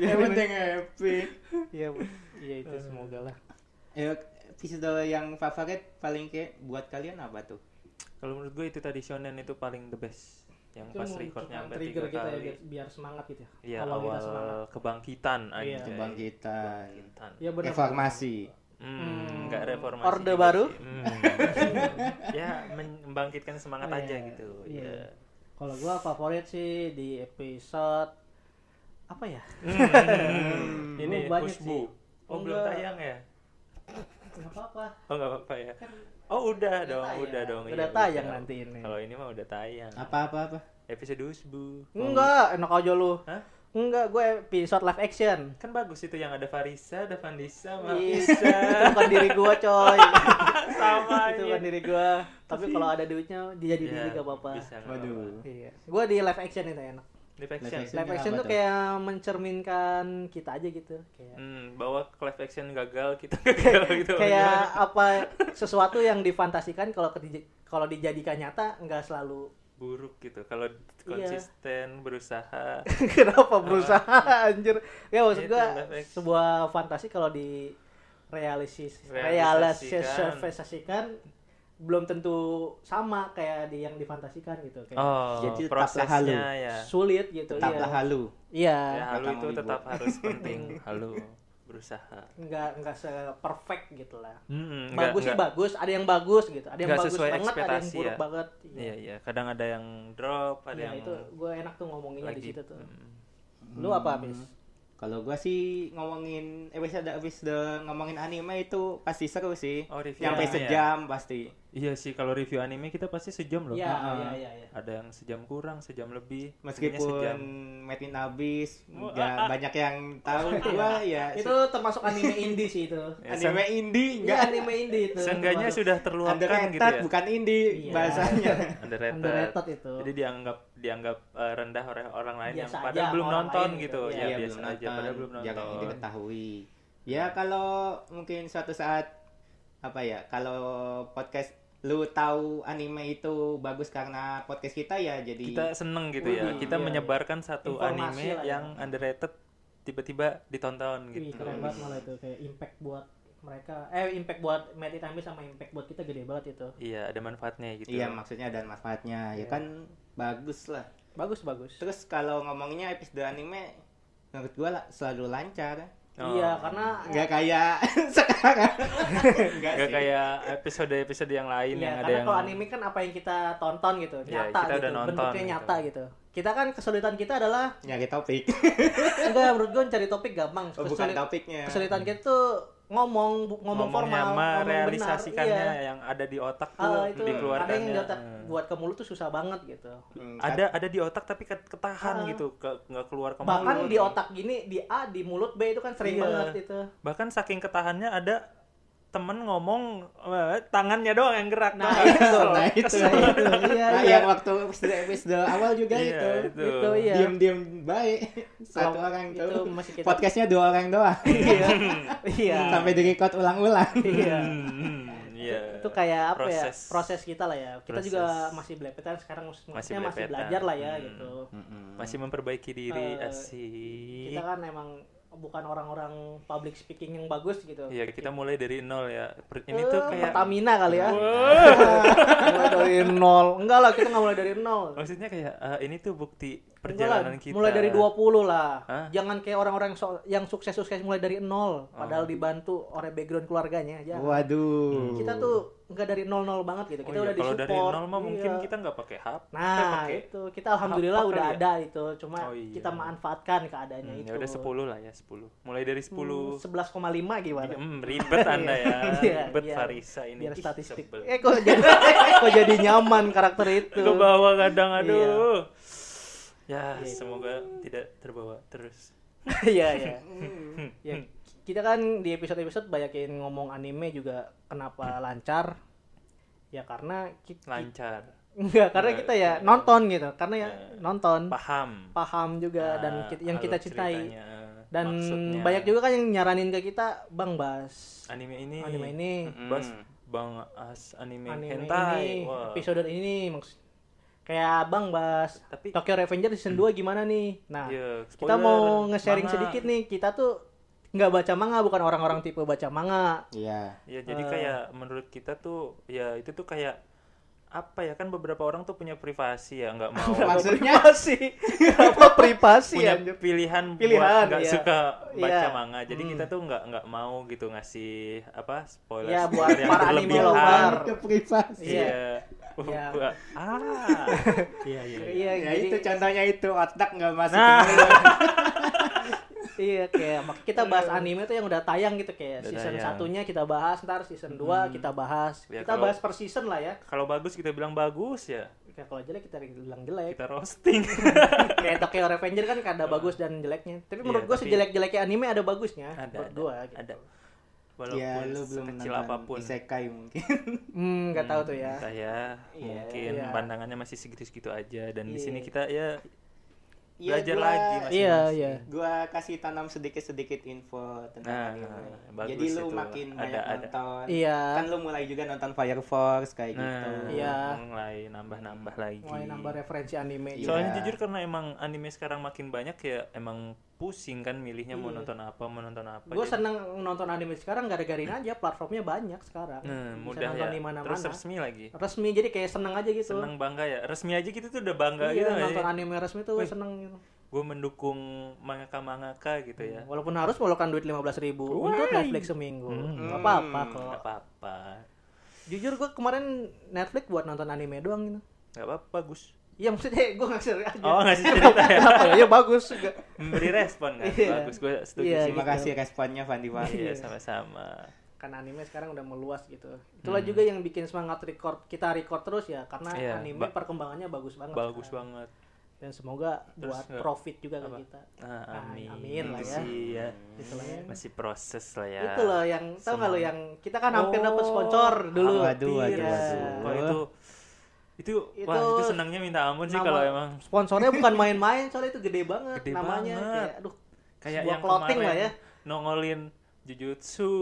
S3: yang penting happy
S2: iya Bu. iya itu
S1: Hmm.
S2: semoga lah
S3: Ayo, episode yang favorit paling kayak buat kalian apa tuh
S1: Kalau menurut gue itu tadi shonen itu paling the best. Yang
S2: Itu
S1: pas
S2: mau-
S1: recordnya
S2: cuman
S1: sampai
S2: trigger
S1: tiga
S2: kita ya
S1: kali.
S2: biar, biar semangat gitu ya
S1: Iya,
S2: awal, kita semangat
S1: awal kebangkitan
S2: Iya.
S1: aja.
S3: kebangkitan
S1: Kebangkitan.
S2: ya benar
S3: reformasi
S1: Hmm, nggak reformasi.
S2: Orde
S1: juga
S2: baru?
S1: sih. Hmm. ya, men- membangkitkan semangat
S2: Iya,
S1: aja gitu.
S2: iya.
S1: Iya.
S2: kalau gua favorit sih di episode apa ya
S1: Hmm,
S2: Gua
S1: Ini
S2: banyak
S1: Husbu. Oh,
S2: Oh,
S1: belum
S2: enggak.
S1: tayang ya?
S2: nggak apa-apa
S1: Oh, nggak apa-apa ya. Oh, udah dong,
S2: tayang.
S1: udah dong.
S2: Udah
S1: iya,
S2: tayang
S1: udah.
S2: nanti ini.
S1: Kalau ini mah udah tayang.
S3: apa apa apa
S1: Episode Husbu.
S2: enggak enak aja lu
S1: Hah?
S2: enggak gue episode live action
S1: Kan bagus itu yang ada Farisa, ada Vandisa, sama
S2: bisa itu bukan diri gua coy
S1: sama Iya,
S2: itu bukan diri gua tapi kalau ada duitnya dia jadi diri gak apa-apa
S3: waduh
S2: iya gua di live action itu enak
S1: Live action.
S3: Live action.
S2: live action
S3: apa
S2: tuh
S3: tuh?
S2: kayak mencerminkan kita aja gitu kayak
S1: Hmm, bahwa live action gagal kita gagal gitu.
S2: kayak apa sesuatu yang difantasikan kalau kedij- kalau dijadikan nyata nggak selalu
S1: buruk gitu. Kalau
S2: Iya.
S1: konsisten berusaha.
S2: kenapa berusaha
S1: Ah.
S2: anjir ya maksud
S1: Itu
S2: gua
S1: live action.
S2: sebuah fantasi kalau di realisis
S1: Realisasikan.
S2: realisasikan belum tentu sama kayak di yang difantasikan gitu kayak
S1: Oh,
S3: Jadi tetaplah
S1: prosesnya ya.
S2: sulit gitu
S3: tetaplah
S2: iya
S3: halu
S2: iya
S1: Ya, halu
S3: Kata
S1: itu
S3: Mang Wibo.
S1: tetap harus penting. Halu berusaha.
S2: nggak nggak se perfect gitu lah
S1: Hmm, enggak,
S2: bagus sih
S1: enggak.
S2: bagus ada yang bagus gitu ada yang
S1: Nggak
S2: bagus
S1: sesuai
S2: banget ada yang
S1: ekspektasi
S2: buruk
S1: ya.
S2: banget
S1: Iya, iya. Kadang ada yang drop, ada
S2: Iya,
S1: yang
S2: itu gue enak tuh ngomonginnya di
S1: lagi.
S2: situ tuh
S1: Hmm.
S2: lu apa abis
S3: Kalau gua sih ngomongin episode episode ngomongin anime itu pasti seru sih.
S1: Oh, review anime
S3: Nyampe
S1: ya?
S3: sejam pasti.
S1: Iya sih, kalau review anime kita pasti sejam loh.
S2: iya
S3: Ah.
S2: iya iya iya.
S1: Ada yang sejam kurang, sejam lebih. Intinya
S3: Meskipun Metin abis,
S2: Oh,
S3: nggak banyak yang tahu gua ya.
S2: ah, Iya. itu termasuk anime indie sih itu
S1: Ya,
S3: anime indie
S2: Iya
S3: enggak
S2: anime indie itu
S1: Seenggaknya
S2: termasuk.
S1: sudah terluapkan
S3: underrated
S1: gitu ya.
S3: bukan indie
S2: Iya.
S3: bahasanya.
S1: Underrated.
S2: underrated itu
S1: Jadi dianggap dianggap eh, rendah oleh orang lain yang
S2: Biasa aja
S1: padahal belum
S2: orang
S1: nonton
S2: lain
S1: gitu.
S2: gitu.
S1: Ya,
S3: Iya,
S1: biasa aja padahal belum nonton.
S3: Jangan diketahui. Ya kalau mungkin suatu saat apa ya kalau podcast lu tahu anime itu bagus karena podcast kita ya jadi
S1: Kita seneng gitu ya.
S2: Wih,
S1: Kita
S2: iya,
S1: menyebarkan satu
S2: Informasi
S1: anime
S2: lah ya.
S1: yang underrated tiba-tiba ditonton
S2: Wih,
S1: gitu.
S2: keren banget malah itu kayak impact buat mereka eh impact buat Mad Itami sama impact buat kita gede banget itu
S1: Iya, ada manfaatnya gitu. Iya.
S3: Iya maksudnya dan manfaatnya ya kan bagus lah.
S2: bagus bagus
S3: Terus kalau ngomongnya episode anime menurut gua la- selalu lancar.
S1: Oh.
S2: iya karena
S3: Enggak kayak sekarang. Enggak
S1: Gak
S3: sih.
S1: kayak episode-episode yang lain
S2: Iya,
S1: yang ada
S2: karena
S1: yang
S2: kalau anime kan apa yang kita tonton gitu,
S1: Iya,
S2: nyata
S1: kita
S2: gitu,
S1: udah nonton
S2: bentuknya
S1: gitu.
S2: nyata gitu. Kita kan kesulitan kita adalah
S3: Nyari topik.
S2: enggak menurut gue cari topik gampang.
S3: Oh, bukan
S2: Kesulit-
S3: topiknya.
S2: kesulitan kita tuh ngomong bu- ngomong
S1: ngomongnya sama
S2: formal, ngomong benar,
S1: realisasikannya
S2: iya.
S1: yang ada di otak tuh
S2: Ah, itu ada yang
S1: dikeluarkannya.
S2: di otak
S1: Hmm.
S2: buat ke mulut tuh susah banget gitu.
S3: Hmm,
S1: ada ada di otak tapi ket- ketahan
S2: Ah.
S1: gitu ke- nggak keluar ke
S2: Bahkan
S1: mulut.
S2: di otak gini di A di mulut B itu kan sering
S1: Iya.
S2: banget itu.
S1: bahkan saking ketahannya ada temen ngomong eh, tangannya doang yang gerak Tau
S2: Nah,
S1: nggak?
S2: itu.
S3: Nah, itu.
S2: Nah, itu. Iya,
S3: Nah,
S2: iya.
S3: yang waktu episode, episode awal juga
S1: Iya,
S3: itu.
S1: itu.
S2: Itu iya.
S3: Diam-diam baik. Satu
S2: Kalau
S3: orang
S2: itu
S3: tuh.
S2: masih kita-
S3: Podcastnya dua orang doang.
S2: Iya. Iya.
S3: Sampai di record ulang-ulang.
S2: Iya.
S1: Hmm, iya
S2: itu kan. kayak apa
S1: proses.
S2: ya proses kita lah ya kita
S1: Proses.
S2: juga masih belepetan sekarang maksudnya masih,
S1: belepetan.
S2: belajar lah ya
S1: Hmm.
S2: gitu
S1: masih memperbaiki diri
S2: Eh,
S1: asik
S2: kita kan emang bukan orang-orang public speaking yang bagus gitu
S1: iya kita mulai dari nol ya Per- ini tuh
S2: Eh,
S1: kayak
S2: Pertamina kali ya mulai dari nol enggak lah kita nggak mulai dari nol
S1: maksudnya kayak eh, ini tuh bukti
S2: Enggak lah,
S1: perjalanan kita Oh
S2: mulai dari 20 lah
S1: Hah? Oh.
S2: jangan kayak orang-orang yang so- yang sukses-sukses mulai dari nol padahal dibantu oleh background keluarganya aja
S3: Waduh.
S2: kita tuh nggak dari nol-nol banget gitu
S1: Oh
S2: kita
S1: iya,
S2: udah
S1: kalau
S2: disupport
S1: dari nol mah mungkin
S2: Iya.
S1: kita nggak pakai HP kita
S2: Nah,
S1: pakai
S2: itu kita alhamdulillah
S1: apa
S2: udah
S1: kali ya?
S2: ada itu. Cuma
S1: Oh, iya.
S2: kita manfaatkan keadaannya
S1: hmm,
S2: itu. Hmm,
S1: ya udah 10 lah ya 10 mulai dari 10
S2: 11,5 gimana?
S1: Hmm, ribet anda ya,
S2: Iya,
S1: ribet
S2: biar-
S1: Farisa ini.
S2: Biar
S1: Ih,
S2: statistik.
S1: sebel.
S2: Eh kok jadi kok jadi nyaman karakter itu.
S1: ke bawah kadang
S2: Iya.
S1: aduh ya semoga tidak terbawa terus
S2: Iya, iya.
S1: Hmm.
S2: Ya, kita kan di episode-episode banyakin
S1: Hmm.
S2: ngomong anime juga kenapa lancar? Ya karena kita
S1: lancar
S2: Enggak, karena
S1: Enggak.
S2: kita ya nonton gitu. Karena ya
S1: Iya.
S2: nonton
S1: paham
S2: paham juga Iya, dan
S1: Ah,
S2: ki- yang kita
S1: alur
S2: cintai.
S1: ceritanya,
S2: Dan
S1: maksudnya.
S2: banyak juga kan yang nyaranin ke kita, "Bang, bahas
S1: anime ini
S2: anime ini,
S1: Mm-mm. Bas bang as anime,
S2: anime
S1: hentai
S2: ini,
S1: Wah.
S2: episode ini." Maksud kayak Bang bahas
S1: tapi
S2: Tokyo Revenger season 2 gimana nih? Nah,
S1: iya, spoiler,
S2: kita mau nge-sharing
S1: manga.
S2: sedikit nih. Kita tuh nggak baca manga, bukan orang-orang tipe baca manga.
S3: Iya.
S1: Ya jadi
S2: Eh.
S1: kayak menurut kita tuh ya itu tuh kayak apa ya kan beberapa orang tuh punya privasi ya nggak mau
S3: Maksudnya
S2: privasi. Apa privasi
S1: punya
S2: anjir?
S1: pilihan,
S2: Iya, Pilihan,
S1: buat nggak
S2: iya.
S1: suka baca
S2: Iya.
S1: manga. Jadi
S2: Hmm.
S1: kita tuh nggak nggak mau gitu ngasih apa spoiler
S2: Iya, buat
S1: spoiler yang
S2: para anime
S1: berlebihan.
S2: lover.
S3: ke privasi.
S1: Iya.
S2: Iya.
S1: Wah, ah. Iya iya. iya.
S2: Iya,
S3: Ya
S2: jadi-
S3: itu contohnya itu otak nggak masuk.
S1: Nah.
S3: dulu.
S2: Iya kayak mak- kita bahas anime tuh yang udah tayang gitu
S1: Udah
S2: kayak season
S1: tayang.
S2: satunya kita bahas ntar season 2 kita bahas
S1: Ya,
S2: kita
S1: kalau-
S2: bahas per season lah ya
S1: Kalau bagus kita bilang bagus ya.
S2: kayak kalau jelek kita bilang jelek
S1: Kita roasting.
S2: kayak Tokyo Revenger kan ada bagus dan jeleknya tapi
S1: Iya,
S2: menurut gua
S1: tapi-
S2: sejelek-jeleknya anime ada Iya, bagusnya
S1: Ada,
S2: menurut
S1: ada,
S2: gua gitu.
S1: Ada.
S3: ya
S1: Walaupun
S3: lu belum
S1: kecil
S3: nonton
S1: apapun.
S3: isekai mungkin.
S2: hmm nggak tahu tuh ya
S1: Entah ya.
S2: Iya,
S1: Mungkin
S2: iya.
S1: pandangannya masih segitu-segitu aja dan di
S2: Iya.
S1: sini kita ya
S3: Iya,
S1: belajar
S3: gua-
S1: lagi
S2: iya
S1: masing-masing.
S2: iya
S3: gua kasih tanam sedikit-sedikit info
S1: Nah,
S3: tentang anime.
S1: nah, bagus
S3: Jadi lu
S1: itu.
S3: makin
S1: Ada,
S3: banyak
S1: ada.
S3: nonton.
S2: iya
S3: Kan lu mulai juga nonton Fire Force kayak
S1: Nah,
S3: gitu.
S2: Iya.
S1: mulai nambah-nambah lagi.
S2: mulai nambah referensi anime
S3: Iya.
S1: Soalnya jujur karena emang anime sekarang makin banyak ya emang pusing kan milihnya mau
S2: Iya.
S1: nonton apa, mau nonton apa. gitu.
S2: gue
S1: Jadi-
S2: seneng nonton anime sekarang gara-garain aja platformnya banyak sekarang
S1: Nah,
S2: Bisa
S1: mudah
S2: nonton
S1: ya.
S2: di mana-mana
S1: Terus resmi lagi.
S2: resmi jadi kayak seneng aja gitu
S1: Seneng bangga ya. Resmi aja kita tuh udah bangga gitu
S2: iya, nonton anime resmi tuh seneng gitu.
S1: Gue mendukung mangaka-mangaka gitu ya.
S2: Walaupun harus melukan duit 15.000 ribu untuk
S1: Why?
S2: Netflix seminggu.
S1: Hmm.
S2: Nggak apa-apa kok.
S1: Gak apa-apa.
S2: Jujur gue kemarin Netflix buat nonton anime doang gitu.
S1: Gak apa-apa, Gus.
S2: Iya maksudnya gue ngasih aja.
S1: Oh, ngasih cerita ya.
S2: Kenapa ya? Ya bagus. juga.
S1: Memberi respon kan.
S2: Iya.
S1: Bagus, gue setuju
S2: Iya,
S1: sih.
S3: Terima
S2: gitu.
S3: kasih responnya Fandi Fandi.
S1: Iya, sama-sama.
S2: Karena Kan anime sekarang udah meluas gitu. Itulah juga yang bikin semangat record kita record terus ya karena
S1: Hmm. Iya,
S2: anime
S1: ba-
S2: perkembangannya bagus banget.
S1: Bagus
S2: sekarang.
S1: banget.
S2: Dan semoga
S1: Terus
S2: buat
S1: nggak-
S2: profit juga ke
S1: apa?
S2: kita.
S1: Nah,
S2: Ah,
S1: amin.
S2: amin lah
S1: Itu
S2: ya.
S1: sih ya.
S2: Gitu lah ya.
S1: Masih proses lah ya.
S2: Itu loh yang tahu nggak lo
S1: Semangat.
S2: yang kita kan hampir dapat
S1: Oh,
S2: sponsor dulu. Iya.
S3: ah, waduh,
S1: Hampir.
S2: waduh, waduh.
S1: Wah, itu itu,
S2: Itu-
S1: wah itu senangnya minta ampun sih
S2: Nama-
S1: kalau emang
S2: sponsornya bukan main-main soalnya itu gede banget
S1: Gede
S2: namanya
S1: banget.
S2: kayak aduh
S1: kayak
S2: sebuah
S1: yang
S2: clothing
S1: kemarin
S2: lah ya.
S1: nongolin jujutsu.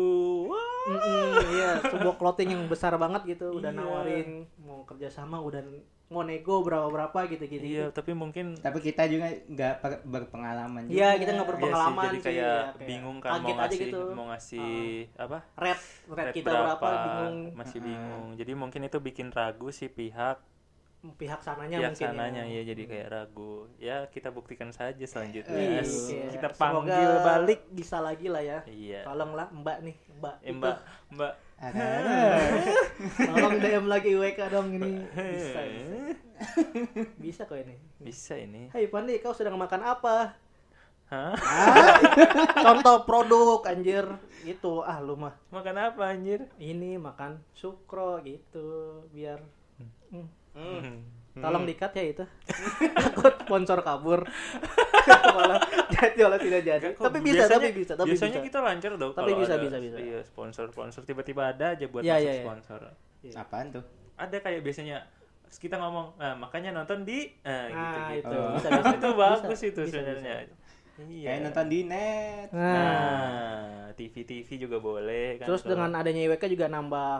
S1: Wah.
S2: mm-mm, iya sebuah clothing yang besar banget gitu udah
S1: Iya.
S2: nawarin mau kerjasama udah mau nego berapa berapa gitu gitu
S1: Iya, tapi mungkin
S3: Tapi kita juga nggak per- berpengalaman juga.
S2: Iya, kita nggak
S1: iya sih,
S2: berpengalaman
S1: jadi
S2: sih,
S1: kayak
S2: ya, kayak
S1: bingung kan mau
S2: kaget aja
S1: ngasih
S2: gitu.
S1: mau ngasih apa?
S2: red red
S1: rate
S2: kita berapa, bingung Ah.
S1: Masih bingung. Jadi mungkin itu bikin ragu si pihak
S2: pihak sananya
S1: pihak
S2: mungkin ya.
S1: sananya ya. jadi kayak ragu. Ya kita buktikan saja
S2: Iya,
S1: selanjutnya. Yes.
S2: iya.
S1: Kita
S2: Semoga
S1: panggil balik.
S2: bisa lagi lah ya
S1: Iya.
S2: tolonglah mbak nih mbak
S1: Eh,
S2: itu.
S1: Mbak, Mbak.
S3: Ah, Ada.
S2: tolong dm lagi WK dong ini bisa bisa, bisa kok ini
S1: Bisa ini.
S2: Hai Pandi, kau sedang makan apa?
S1: Hah?
S2: Contoh produk anjir. Itu ah lu mah.
S1: Makan apa anjir?
S2: Ini makan sukro gitu biar Hmm.
S1: Hmm.
S2: Tolong dikat ya itu. Takut sponsor kabur. Malah jadi malah tidak jadi.
S1: Enggak kok,
S2: tapi bisa,
S1: biasanya-
S2: tapi bisa, tapi
S1: biasanya
S2: bisa.
S1: kita lancar dong.
S2: Tapi
S1: kalau
S2: bisa,
S1: ada-
S2: bisa, bisa.
S1: Iya, sponsor-sponsor tiba-tiba ada aja buat
S2: Iya,
S1: masuk
S2: iya, iya.
S1: sponsor.
S3: Apaan tuh?
S1: Ada kayak biasanya kita ngomong, nah, makanya nonton di eh gitu,
S2: Nah,
S1: gitu.
S2: itu.
S3: Oh.
S2: Bisa, bisa.
S1: itu bagus
S2: Bisa,
S1: itu
S2: bisa,
S1: sebenarnya.
S2: bisa.
S1: Iya.
S3: Kayak nonton di net.
S2: Nah,
S1: Nah, TV-TV juga boleh kan.
S2: terus
S1: kalau-
S2: dengan adanya IWK juga nambah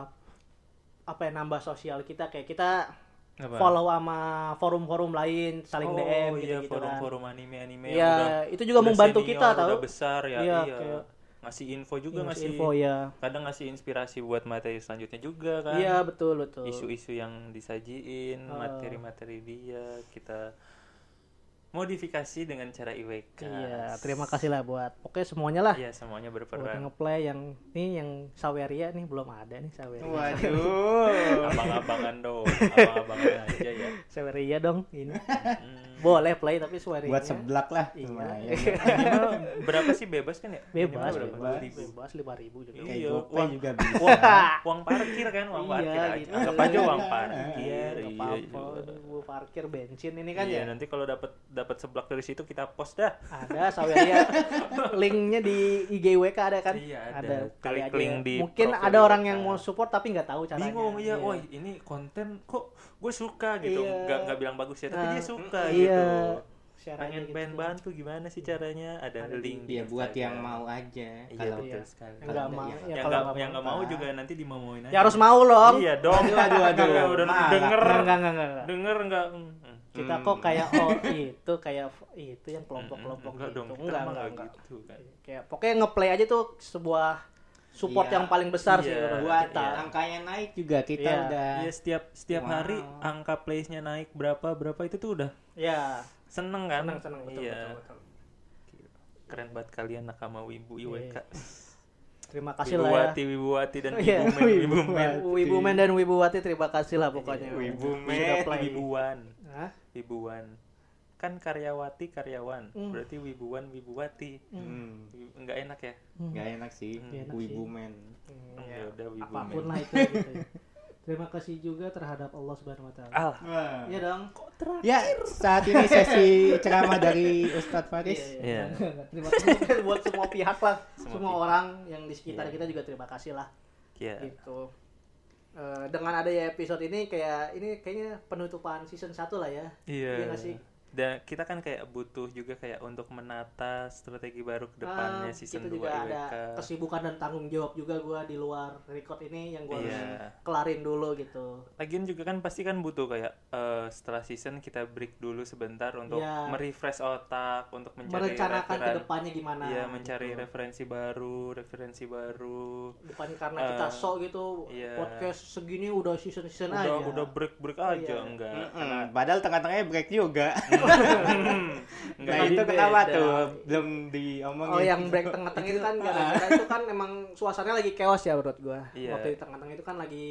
S2: apa ya nambah sosial kita kayak kita
S1: Apa?
S2: follow sama forum-forum lain
S1: oh,
S2: saling DM
S1: iya,
S2: gitu-gitu kan.
S1: forum-forum anime-anime yang
S2: Iya,
S1: udah-
S2: itu juga
S1: udah
S2: membantu
S1: senior,
S2: kita tahu.
S1: Udah besar ya,
S2: Iya,
S1: iya.
S2: kayak-
S1: Ngasih info juga
S2: Ngasih
S1: ngasih
S2: info ya.
S1: kadang ngasih inspirasi buat materi selanjutnya juga kan.
S2: Iya, betul betul.
S1: isu-isu yang disajiin,
S2: Oh.
S1: materi-materi dia kita modifikasi dengan cara IWK.
S2: Iya, terima kasih lah buat pokoknya semuanya lah.
S1: Iya, semuanya
S2: buat yang
S1: berperan.
S2: ngeplay yang nih yang Saweria nih belum ada nih Saweria.
S3: Waduh.
S1: Abang-abangan dong, abang-abangan aja ya.
S2: Saweria dong ini.
S1: Hmm.
S2: Boleh play tapi Saweria.
S3: Buat seblak lah.
S2: Iya.
S3: Lumayan.
S1: Minimal berapa sih bebas kan ya?
S2: bebas
S1: Minimal berapa?
S2: bebas
S1: Dua ribu.
S2: bebas lima ribu juga.
S1: Iya.
S3: Kayak GoPay
S1: uang-
S3: juga bisa.
S1: Uang, uang parkir kan, uang
S2: Iya,
S1: parkir aja.
S2: gitu.
S1: Anggap aja uang parkir.
S2: Iya,
S1: iya
S2: apa-apa.
S1: juga.
S2: Aduh, parkir bensin ini kan
S1: Iya,
S2: ya.
S1: nanti kalau dapat dapat seblak dari situ kita post dah.
S2: Ada Saweria. Linknya di IG WK ada kan?
S1: Iya, ada.
S2: Kali
S1: Klik
S2: aja
S1: link
S2: ya.
S1: di
S2: Mungkin
S1: profil
S2: ada orang
S1: WK.
S2: yang mau support tapi nggak tahu caranya.
S1: Bingung iya,
S2: Iya.
S1: woi ini konten kok gue suka gitu.
S2: Iya.
S1: Nggak nggak bilang bagus ya, tapi
S2: Nah,
S1: dia suka
S2: iya.
S1: gitu.
S2: Share
S1: Pengen
S2: aja gitu.
S1: pengen bantu gimana sih caranya? Ada, link
S2: Iya,
S3: Dia Iya, buat yang
S1: Instagram.
S3: mau aja.
S1: Iya,
S3: Kalau
S1: betul sekali.
S2: Yang nggak mau. ya
S3: Yang
S1: yang
S2: kalau
S1: nggak
S2: nggak
S1: yang nggak mau
S2: apa-apa.
S1: juga nanti dimauin aja.
S2: Ya harus mau loh.
S1: Iya dong.
S3: Aduh, aduh, aduh.
S1: Nggak, udah
S3: Malah.
S1: denger.
S2: Enggak, enggak, enggak, enggak.
S1: Denger enggak? Hmm, hmm.
S2: Kita
S3: Hmm.
S2: kok kayak oh itu kayak itu yang kelompok-kelompok
S1: Enggak
S2: gitu.
S1: dong, kita
S2: Enggak,
S1: mah
S2: enggak,
S1: nggak
S2: enggak. Iya.
S1: gitu kan.
S2: Kayak pokoknya ngeplay aja tuh sebuah support
S3: Iya.
S2: yang paling besar sih
S1: Iya.
S2: menurut
S3: buat
S2: kita.
S3: angkanya naik juga kita
S2: Iya.
S3: udah
S1: Iya setiap setiap
S3: Wow.
S1: hari angka plays-nya naik berapa berapa itu tuh udah
S2: Ya,
S1: seneng kan?
S2: senang senang betul,
S1: iya.
S2: betul, betul.
S1: Keren banget kalian nakama Wibu IWK.
S2: Iya. Terima kasih lah ya.
S1: Wibuwati, Wibuwati dan
S2: Iya,
S1: Wibumen, Wibumen.
S2: Wibumen. Wibumen dan Wibuwati terima kasih
S3: Iya,
S2: lah pokoknya. Sudah
S3: Wibumen.
S2: play.
S1: Wibuwan,
S2: Hah?
S1: Wibuwan. Kan karyawati karyawan,
S2: Hmm.
S1: berarti Wibuwan Wibuwati.
S3: Hmm,
S1: Enggak enak ya?
S3: nggak enak sih
S1: Nggak
S2: enak
S3: wibu
S2: sih.
S3: men
S2: Hmm,
S1: Ya
S2: ya.
S1: udah Wibumen.
S4: apapun lah itu gitu ya. Terima kasih juga terhadap Allah Subhanahu wa
S2: Ah.
S4: taala.
S1: Alah.
S4: Iya dong. Kok terakhir?
S3: ya saat ini sesi ceramah dari Ustadz Faris
S1: Iya.
S2: Terima kasih buat semua pihak lah,
S1: Semua
S2: semua,
S1: pihak.
S2: orang yang di sekitar
S1: Iya.
S2: kita juga terima kasih lah
S1: Iya.
S2: gitu. Eh, dengan adanya episode ini kayak ini kayaknya penutupan season 1 lah ya.
S1: Iya.
S2: Iya nggak sih?
S1: Dan kita kan kayak butuh juga kayak untuk menata strategi baru ke depannya
S2: Ah,
S1: season kan.
S2: kita
S1: 2
S2: juga ada
S1: IWK.
S2: kesibukan dan tanggung jawab juga gua di luar record ini yang gua harus
S1: Iya.
S2: kelarin dulu gitu.
S1: Lagian juga kan pasti kan butuh kayak eh, setelah season kita break dulu sebentar untuk
S2: Iya.
S1: merefresh otak, untuk mencari
S2: Merencanakan ke
S1: referen-
S2: depannya gimana.
S1: Iya, mencari
S2: gitu.
S1: referensi baru, referensi baru.
S2: bukan karena kita
S1: Eh,
S2: sok gitu
S1: iya.
S2: podcast segini udah season season
S1: Udah
S2: aja
S1: udah break break aja
S2: Iya.
S1: enggak.
S3: Mm-mm, Hmm, padahal tengah-tengahnya break juga
S1: Enggak
S3: nah
S1: jadi
S3: itu kenapa
S2: beda.
S3: tuh belum diomongin
S2: oh yang break tengah-tengah itu kan gara-gara itu kan emang suasananya lagi chaos ya menurut gua
S1: Iya.
S2: waktu di tengah-tengah itu kan lagi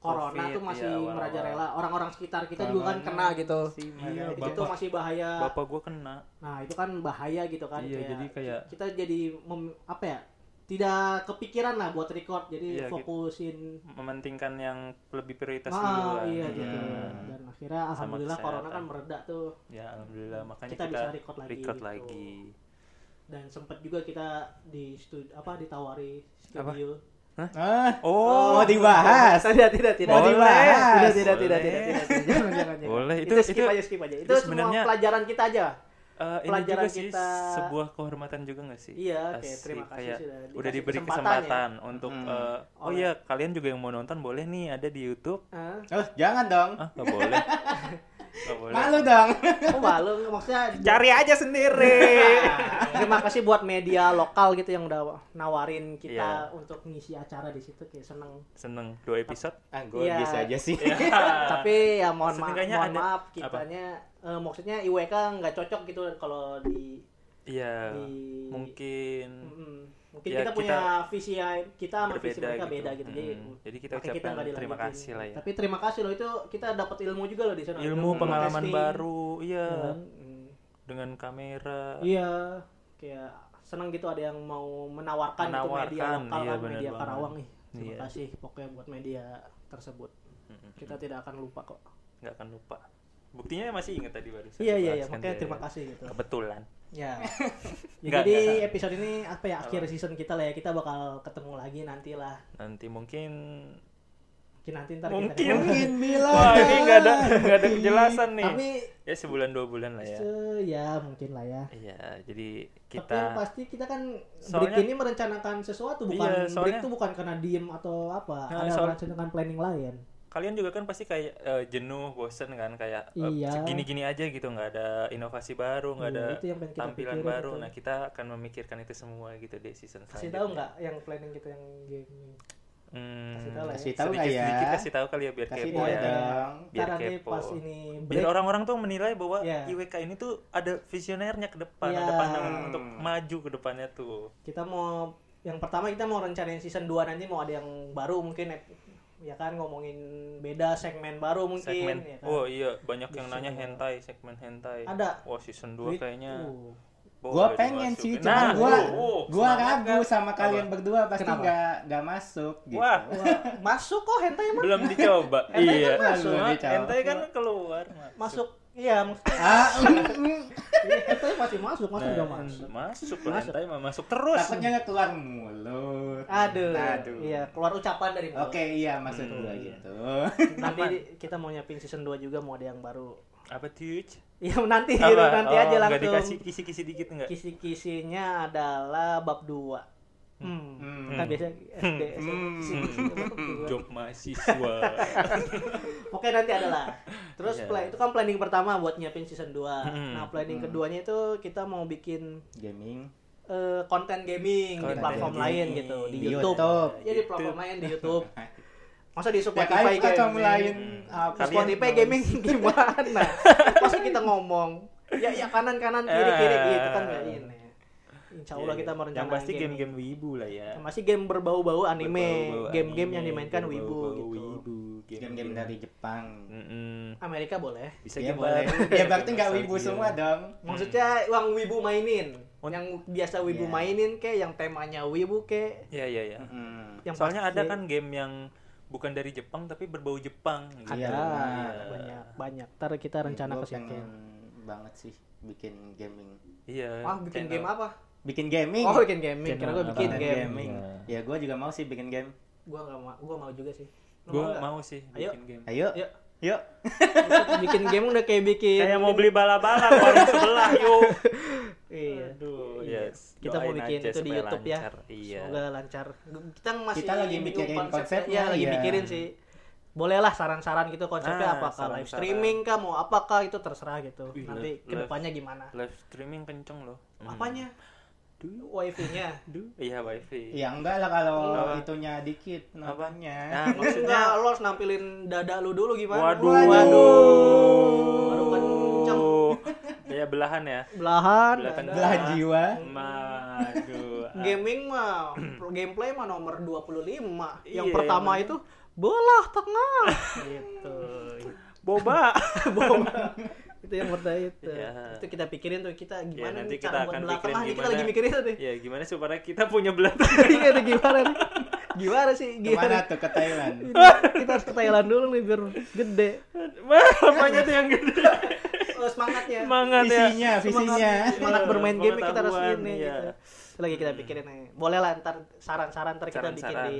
S2: corona
S1: Covid,
S2: tuh masih
S1: iya, awal-awal.
S2: merajalela orang-orang sekitar kita juga kan kena
S3: Corona
S2: gitu
S3: Si
S1: Iya,
S3: Mada.
S2: Jadi itu masih bahaya
S1: bapak gua kena.
S2: nah itu kan bahaya gitu kan
S1: Iya, jadi kayak-
S2: kita jadi mem- apa ya tidak kepikiran lah buat record jadi
S1: Iya, gitu.
S2: fokusin
S1: Mementingkan yang lebih prioritas
S2: Ah,
S1: dulu kan.
S2: iya gitu
S3: Iya.
S2: dan akhirnya alhamdulillah corona
S1: kesehatan.
S2: kan mereda tuh
S1: Ya alhamdulillah makanya
S2: Kita
S1: kita,
S2: bisa record lagi
S1: record
S2: gitu.
S1: lagi.
S2: dan sempat juga kita di studi apa ditawari studio
S3: ah,
S1: Oh,
S3: mau dibahas
S2: tidak tidak tidak
S1: Boleh.
S2: tidak
S1: Boleh.
S2: tidak tidak tidak tidak tidak tidak jangan jangan jangan.
S1: Boleh, itu-
S2: itu, skip
S1: itu-
S2: aja skip aja itu,
S1: itu
S2: semua
S1: sebenarnya-
S2: pelajaran kita aja
S1: Eh, ini
S2: Pelajaran
S1: juga sih
S2: kita-
S1: sebuah kehormatan juga nggak sih?
S2: iya oke
S1: Asik,
S2: terima kasih
S1: kayak
S2: sudah
S1: udah
S2: dikasih
S1: diberi
S2: kesempatan ya.
S1: kesempatan untuk
S3: Hmm.
S1: eh, oh
S2: Oleh-
S1: iya kalian juga yang mau nonton boleh nih ada di YouTube
S2: Hah?
S3: oh jangan dong
S1: ah nggak boleh nggak boleh
S3: malu dong
S2: oh malu maksudnya
S1: cari aja sendiri
S2: terima kasih buat media lokal gitu yang udah nawarin
S1: Iya.
S2: kita untuk ngisi acara di situ kayak seneng
S1: seneng dua episode
S3: ah gue
S2: Iya.
S3: bisa aja sih
S2: tapi ya mohon maaf
S1: Setidaknya
S2: mohon
S1: ada-
S2: maaf
S1: apa?
S2: kitanya eh, maksudnya IWK nggak cocok gitu kalau di
S1: iya
S2: di
S1: mungkin
S2: Mm-mm. Mungkin
S1: Ya,
S2: kita
S1: kita
S2: punya visi ya- kita sama
S1: berbeda
S2: visi mereka
S1: gitu.
S2: beda gitu. Jadi,
S1: Mm. Jadi kita
S2: makanya
S1: ucapkan
S2: nggak
S1: terima
S2: dilanjutin.
S1: kasih lah ya.
S2: Tapi terima kasih loh itu kita dapat ilmu juga loh di sana.
S1: ilmu pengalaman
S2: podcasting.
S1: baru iya
S2: Dan, mm,
S1: dengan kamera
S2: Iya, kayak senang gitu ada yang mau menawarkan, gitu media
S1: Menawarkan,
S2: lokal
S1: iya,
S2: kan,
S1: benar
S2: media
S1: banget.
S2: Karawang nih. Terima
S1: Iya.
S2: kasih pokoknya buat media tersebut. Kita tidak akan lupa kok.
S1: nggak akan lupa buktinya masih ingat tadi baru
S2: Iya iya iya, makanya terima kasih gitu.
S1: kebetulan
S2: Ya. Ya,
S1: Nggak,
S2: jadi
S1: nggak.
S2: episode ini apa ya akhir season kita lah ya. Kita bakal ketemu lagi nantilah.
S1: nanti mungkin
S2: Mungkin nanti ntar kita
S1: Mungkin. gitu.
S2: ketemu.
S3: mungkin bilang
S1: wah ini nggak ada nggak ada kejelasan nih
S2: Tapi
S1: ya sebulan dua bulan lah ya
S2: se- ya mungkin lah ya.
S1: Iya, jadi
S2: Tapi yang
S1: kita
S2: pasti kita kan break
S1: Soalnya-
S2: ini merencanakan sesuatu bukan
S1: Iya,
S2: break
S1: soalnya-
S2: itu bukan karena diem atau apa.
S1: Nah,
S2: ada
S1: soal-
S2: merencanakan planning lain.
S1: kalian juga kan pasti kayak eh, jenuh, bosen kan kayak eh,
S2: Iya.
S1: segini-gini aja gitu, nggak ada inovasi baru, nggak
S2: Iya,
S1: ada
S2: itu yang pengen kita
S1: tampilan
S2: pikirin
S1: baru.
S2: itu.
S1: Nah, kita akan memikirkan itu semua gitu di season
S2: Kasih
S1: selanjutnya.
S2: tahu nggak yang planning kita yang game?
S1: Hmm,
S2: Kasih tahu lah ya.
S3: Kasih tahu nggak ya?
S1: sedikit-sedikit kasih tahu kali ya biar
S3: kasih
S1: kepo
S3: tahu
S1: ya.
S3: dong
S1: Biar
S2: Karena nih
S1: kepo.
S2: pas ini
S1: Biar
S2: break
S1: orang-orang tuh menilai bahwa
S2: Iya.
S1: IWK ini tuh ada visionernya ke depan,
S2: Iya.
S1: ada pandangan untuk maju ke depannya tuh.
S2: kita mau yang pertama kita mau rencanain season 2 nanti mau ada yang baru mungkin ep- ya kan ngomongin beda segmen baru mungkin
S1: Segmen.
S2: ya kan?
S1: Oh iya, banyak yang
S2: Bisa.
S1: nanya hentai, segmen hentai.
S2: Ada.
S1: Wah, season 2
S2: Itu.
S1: kayaknya.
S2: Gitu.
S3: Gua
S1: boleh
S3: pengen
S1: dimasukin.
S3: sih, cuman
S1: Nah,
S3: gua
S1: tuh, oh,
S3: gua
S1: semangat
S3: ragu
S1: kan?
S3: sama kalian berdua pasti
S2: Kenapa?
S3: nggak nggak masuk gitu.
S1: Wah,
S2: Wah, masuk kok hentai emang
S1: belum dicoba.
S2: Hentai kan
S1: iya.
S2: masuk.
S1: Cuma
S3: Belum dicoba.
S1: Hentai kan keluar.
S2: masuk iya maksudnya
S3: Ah, mm, mm.
S5: Hentai masih masuk, masuk udah
S1: Nah,
S5: masuk.
S1: masuk lah hentai mah masuk terus Ah.
S3: Takutnya nggak keluar mulut.
S2: Aduh.
S3: Aduh.
S2: Iya, keluar ucapan dari mulut.
S3: Oke, iya maksud gua
S1: Hmm.
S3: gitu.
S2: Nanti kita mau nyiapin season 2 juga mau ada yang baru.
S1: apa tuh
S2: Ya nanti
S1: Apa?
S2: nanti
S1: Oh,
S2: aja
S1: nggak
S2: langsung.
S1: dikasih kisi-kisi dikit nggak
S2: Kisi-kisinya adalah bab 2. Hmm.
S3: Hmm.
S2: Kan biasa SD.
S3: Hmm.
S2: kisi-kisi kan bab dua.
S1: job mahasiswa
S2: Oke nanti adalah. Terus
S1: Iya.
S2: plan- itu kan planning pertama buat nyiapin season 2.
S1: Hmm.
S2: Nah, planning
S3: Hmm.
S2: keduanya itu kita mau bikin
S3: Gaming.
S2: eh, konten gaming
S1: Konten
S2: di platform
S3: gaming.
S2: lain gitu, di,
S3: Di
S2: YouTube.
S3: YouTube.
S2: Ya di platform lain di YouTube. Masa di
S3: Ya
S2: Spotify
S3: kalian kan
S2: gaming? Hmm.
S3: kamu lain apa?
S1: uh, Kalian-
S2: Spotify gaming gimana? Masa kita ngomong ya ya kanan kanan kiri kiri
S1: Eh.
S2: gitu kan nggak ini. Insya Allah
S1: Iya,
S2: kita
S1: iya.
S2: merencanakan
S1: yang pasti game-game wibu lah ya
S2: Yang pasti game berbau-bau anime,
S1: Berbau-bau
S2: game-game
S1: anime,
S2: yang dimainkan wibu
S1: berbau-bau
S2: gitu.
S1: wibu,
S3: Game-game dari Jepang.
S1: Mm-mm.
S2: Amerika boleh.
S1: bisa
S3: Ya
S1: game
S3: boleh.
S1: baru.
S3: Ya berarti nggak wibu
S1: Nostalgia.
S3: semua dong.
S1: Hmm.
S2: Maksudnya uang wibu mainin,
S1: Wan-
S2: yang biasa wibu
S3: Iya.
S2: mainin ke, yang temanya wibu ke,
S1: Iya iya iya.
S3: Hmm.
S2: yang
S1: Soalnya
S2: pasti-
S1: ada kan game yang bukan dari Jepang tapi berbau Jepang gitu.
S2: ada
S3: Iya.
S2: banyak banyak. Ntar kita rencana
S3: Gua
S2: ke situ.
S3: pengen banget sih bikin gaming.
S1: Iya.
S2: Wah Ah, bikin game apa?
S3: Bikin gaming.
S2: Oh bikin gaming. Kira gue bikin
S3: Bikin
S2: game.
S3: gaming. Ya gua juga mau sih bikin game.
S2: Gue nggak mau, gue mau juga sih. Lu
S1: Gue
S2: nggak?
S1: mau sih
S2: Ayo.
S1: bikin game.
S3: Ayo.
S2: Yuk.
S3: Yuk.
S2: bikin game udah kayak bikin
S1: Kayak mau beli bala-bala ke warung sebelah yuk.
S2: iya
S1: Aduh,
S2: Iya.
S1: yes.
S2: Kita mau
S1: Doain
S2: bikin
S1: aja
S2: itu di
S1: supaya
S2: YouTube ya.
S1: lancar. Iya.
S2: semoga lancar kita masih
S3: Kita lagi
S2: bingung
S3: mikirin konsepnya,
S2: ya lagi
S3: ya.
S2: mikirin sih bolehlah saran-saran gitu
S1: Nah,
S2: konsepnya apakah
S1: saran-saran.
S2: live streaming kah mau apakah itu terserah gitu
S1: Wih,
S2: nanti
S1: live-
S2: kedepannya gimana
S1: Live streaming kenceng loh. Hmm.
S2: apanya
S1: Duh,
S2: wifi-nya
S1: duh. Iya wifi.
S3: Ya enggak lah kalau
S1: Apa?
S3: itunya dikit namanya.
S1: Nah,
S2: maksudnya
S1: maksudnya
S2: lo harus nampilin dada lu dulu gimana
S1: waduh.
S2: Baru kenceng.
S1: Ya belahan ya.
S2: belahan
S1: Belahan.
S2: dada.
S3: Belah jiwa.
S1: Aduh.
S2: gaming mah pro- gameplay mah nomor 25 yang
S1: Iya,
S2: pertama
S1: bener.
S2: itu bola tengah gitu
S1: Boba.
S2: bom itu yang pertama itu
S1: Iya.
S2: itu kita pikirin tuh kita
S1: Ya,
S2: gimana
S1: nanti
S2: nih
S1: kita
S2: cara buat
S1: akan
S2: belah
S1: pikirin
S2: tengah nih, kita
S1: gimana.
S2: lagi mikirin tuh deh
S1: ya gimana supaya kita punya belakang
S2: iya tuh gimana nih gimana sih gimana
S3: Kemana tuh ke Thailand?
S2: Ini kita harus ke Thailand dulu nih biar gede
S1: Wah, apanya tuh yang gede
S2: Oh, semangatnya
S1: semangat ya
S3: Visinya, visinya.
S2: semangat bermain game kita harus
S1: Iya, Pengetahuan,
S2: ini
S1: iya.
S2: gitu. Itu lagi kita pikirin nih boleh lah ntar saran-saran ntar kita bikin
S1: Saran-saran.
S2: di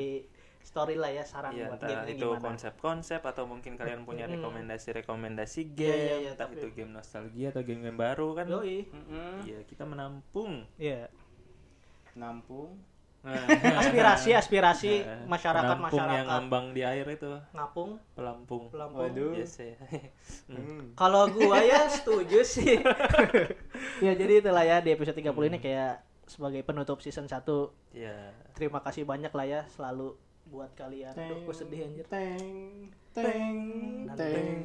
S2: story lah ya saran
S1: Iya,
S2: buat
S1: entah
S2: game ini
S1: itu
S2: gimana
S1: konsep-konsep atau mungkin kalian punya
S2: Hmm.
S1: rekomendasi-rekomendasi game,
S2: Iya, iya, iya,
S1: entah
S2: tapi- Oh,
S1: itu game nostalgia atau game-game baru kan.
S2: Yoi.
S3: Mm-mm.
S1: Iya, kita menampung.
S2: Iya.
S3: Nampung.
S1: Nah,
S2: Aspirasi aspirasi
S1: eh,
S2: masyarakat
S1: penampung yang
S2: masyarakat.
S1: ngambang di air itu,
S2: Ngapung,
S1: pelampung.
S2: pelampung.
S3: Waduh.
S1: Biasa ya. Hmm.
S2: Kalau gua ya setuju sih. ya jadi itulah ya di episode 30 ini kayak sebagai penutup season 1.
S1: Iya.
S2: Terima kasih banyak lah ya selalu buat kalian. Duh, gua sedih anjir.
S3: Teng, teng,
S2: Dan
S3: teng,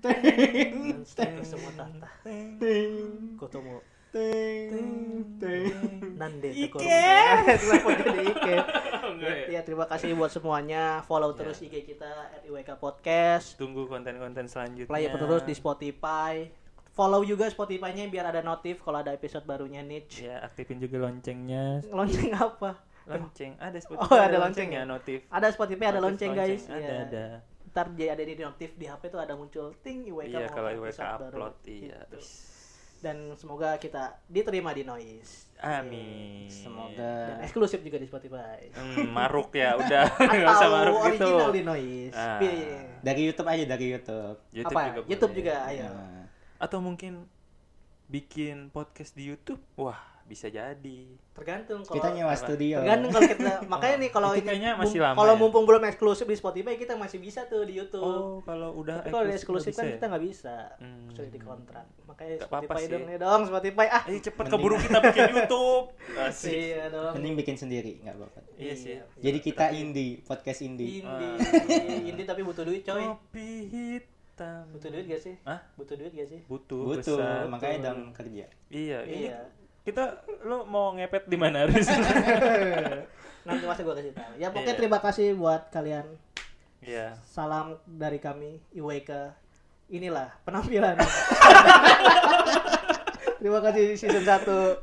S3: teng,
S2: Dan stiker semua tata.
S3: teng,
S2: Kotomo
S3: teng, teng.
S2: nande tekor. Kenapa jadi Ike?
S1: Enggak ya. Iya.
S2: Ya terima kasih buat semuanya. Follow terus IG kita @iwk podcast.
S1: Tunggu konten-konten selanjutnya.
S2: play terus di Spotify. Follow juga Spotify-nya biar ada notif kalau ada episode barunya Niche.
S1: Ya, aktifin juga loncengnya.
S2: Lonceng apa?
S1: Lonceng, ada Spotify.
S2: ada
S1: ada lonceng
S2: lonceng
S1: ya,
S2: ya?
S1: notif.
S2: Ada Spotify, ada
S1: Notif
S2: lonceng, guys.
S1: Ada,
S2: Ya.
S1: ada.
S2: Ntar jadi ada di notif di HP tuh ada muncul ting IWK
S1: Iya,
S2: mau
S1: kalau IWK
S2: episode baru.
S1: upload, iya.
S2: Gitu. Dan semoga kita diterima di Noise. Iya.
S1: Amin.
S2: Dan
S3: Semoga
S2: eksklusif juga di Spotify.
S1: Hmm, maruk ya, udah. Nggak usah
S2: Atau
S1: maruk gitu.
S2: original di Noise.
S1: Ah.
S2: Iya.
S3: dari YouTube aja dari YouTube.
S1: YouTube
S2: Apa? ya?
S1: juga boleh.
S2: YouTube juga, ayo.
S3: Nah,
S1: Atau mungkin bikin podcast di YouTube. Wah, bisa jadi.
S2: Tergantung kalau
S3: Kita nyewa studio.
S2: Tergantung kalau kita makanya nih kalau
S1: Itu
S2: ini
S1: kayaknya masih
S2: mum-
S1: lama
S2: Kalau
S1: ya.
S2: mumpung belum eksklusif di Spotify kita masih bisa tuh di YouTube.
S1: Oh, kalau udah
S2: Tapi kalau udah
S1: eksklusif
S2: eksklusif kan
S1: bisa
S2: kita
S1: ya?
S2: nggak bisa,
S1: Hmm.
S2: kecuali di kontrak. Makanya
S1: Nggak apa-apa
S2: Spotify
S1: sih. Iya
S2: dong, ya dong Spotify ah.
S1: Ayo Eh, cepet keburu kita bikin YouTube. Asik.
S2: Iya dong.
S3: Mending bikin sendiri, nggak apa-apa.
S1: Iya sih.
S3: Jadi kita indie, podcast indie.
S2: Indie,
S1: Ah.
S2: indie tapi butuh duit coy.
S1: Kopi hitam.
S2: Butuh duit gak sih?
S1: Hah?
S2: Butuh duit gak sih?
S1: Butuh,
S3: Butuh,
S1: besar.
S3: makanya dong kerja.
S1: Iya, ini
S2: Iya.
S1: kita lo mau ngepet di mana Riz?
S2: Nanti masa gua kasih tahu. Ya pokoknya
S1: Iya.
S2: terima kasih buat kalian.
S1: Iya.
S2: Salam dari kami IWK. Inilah penampilan. terima kasih season 1.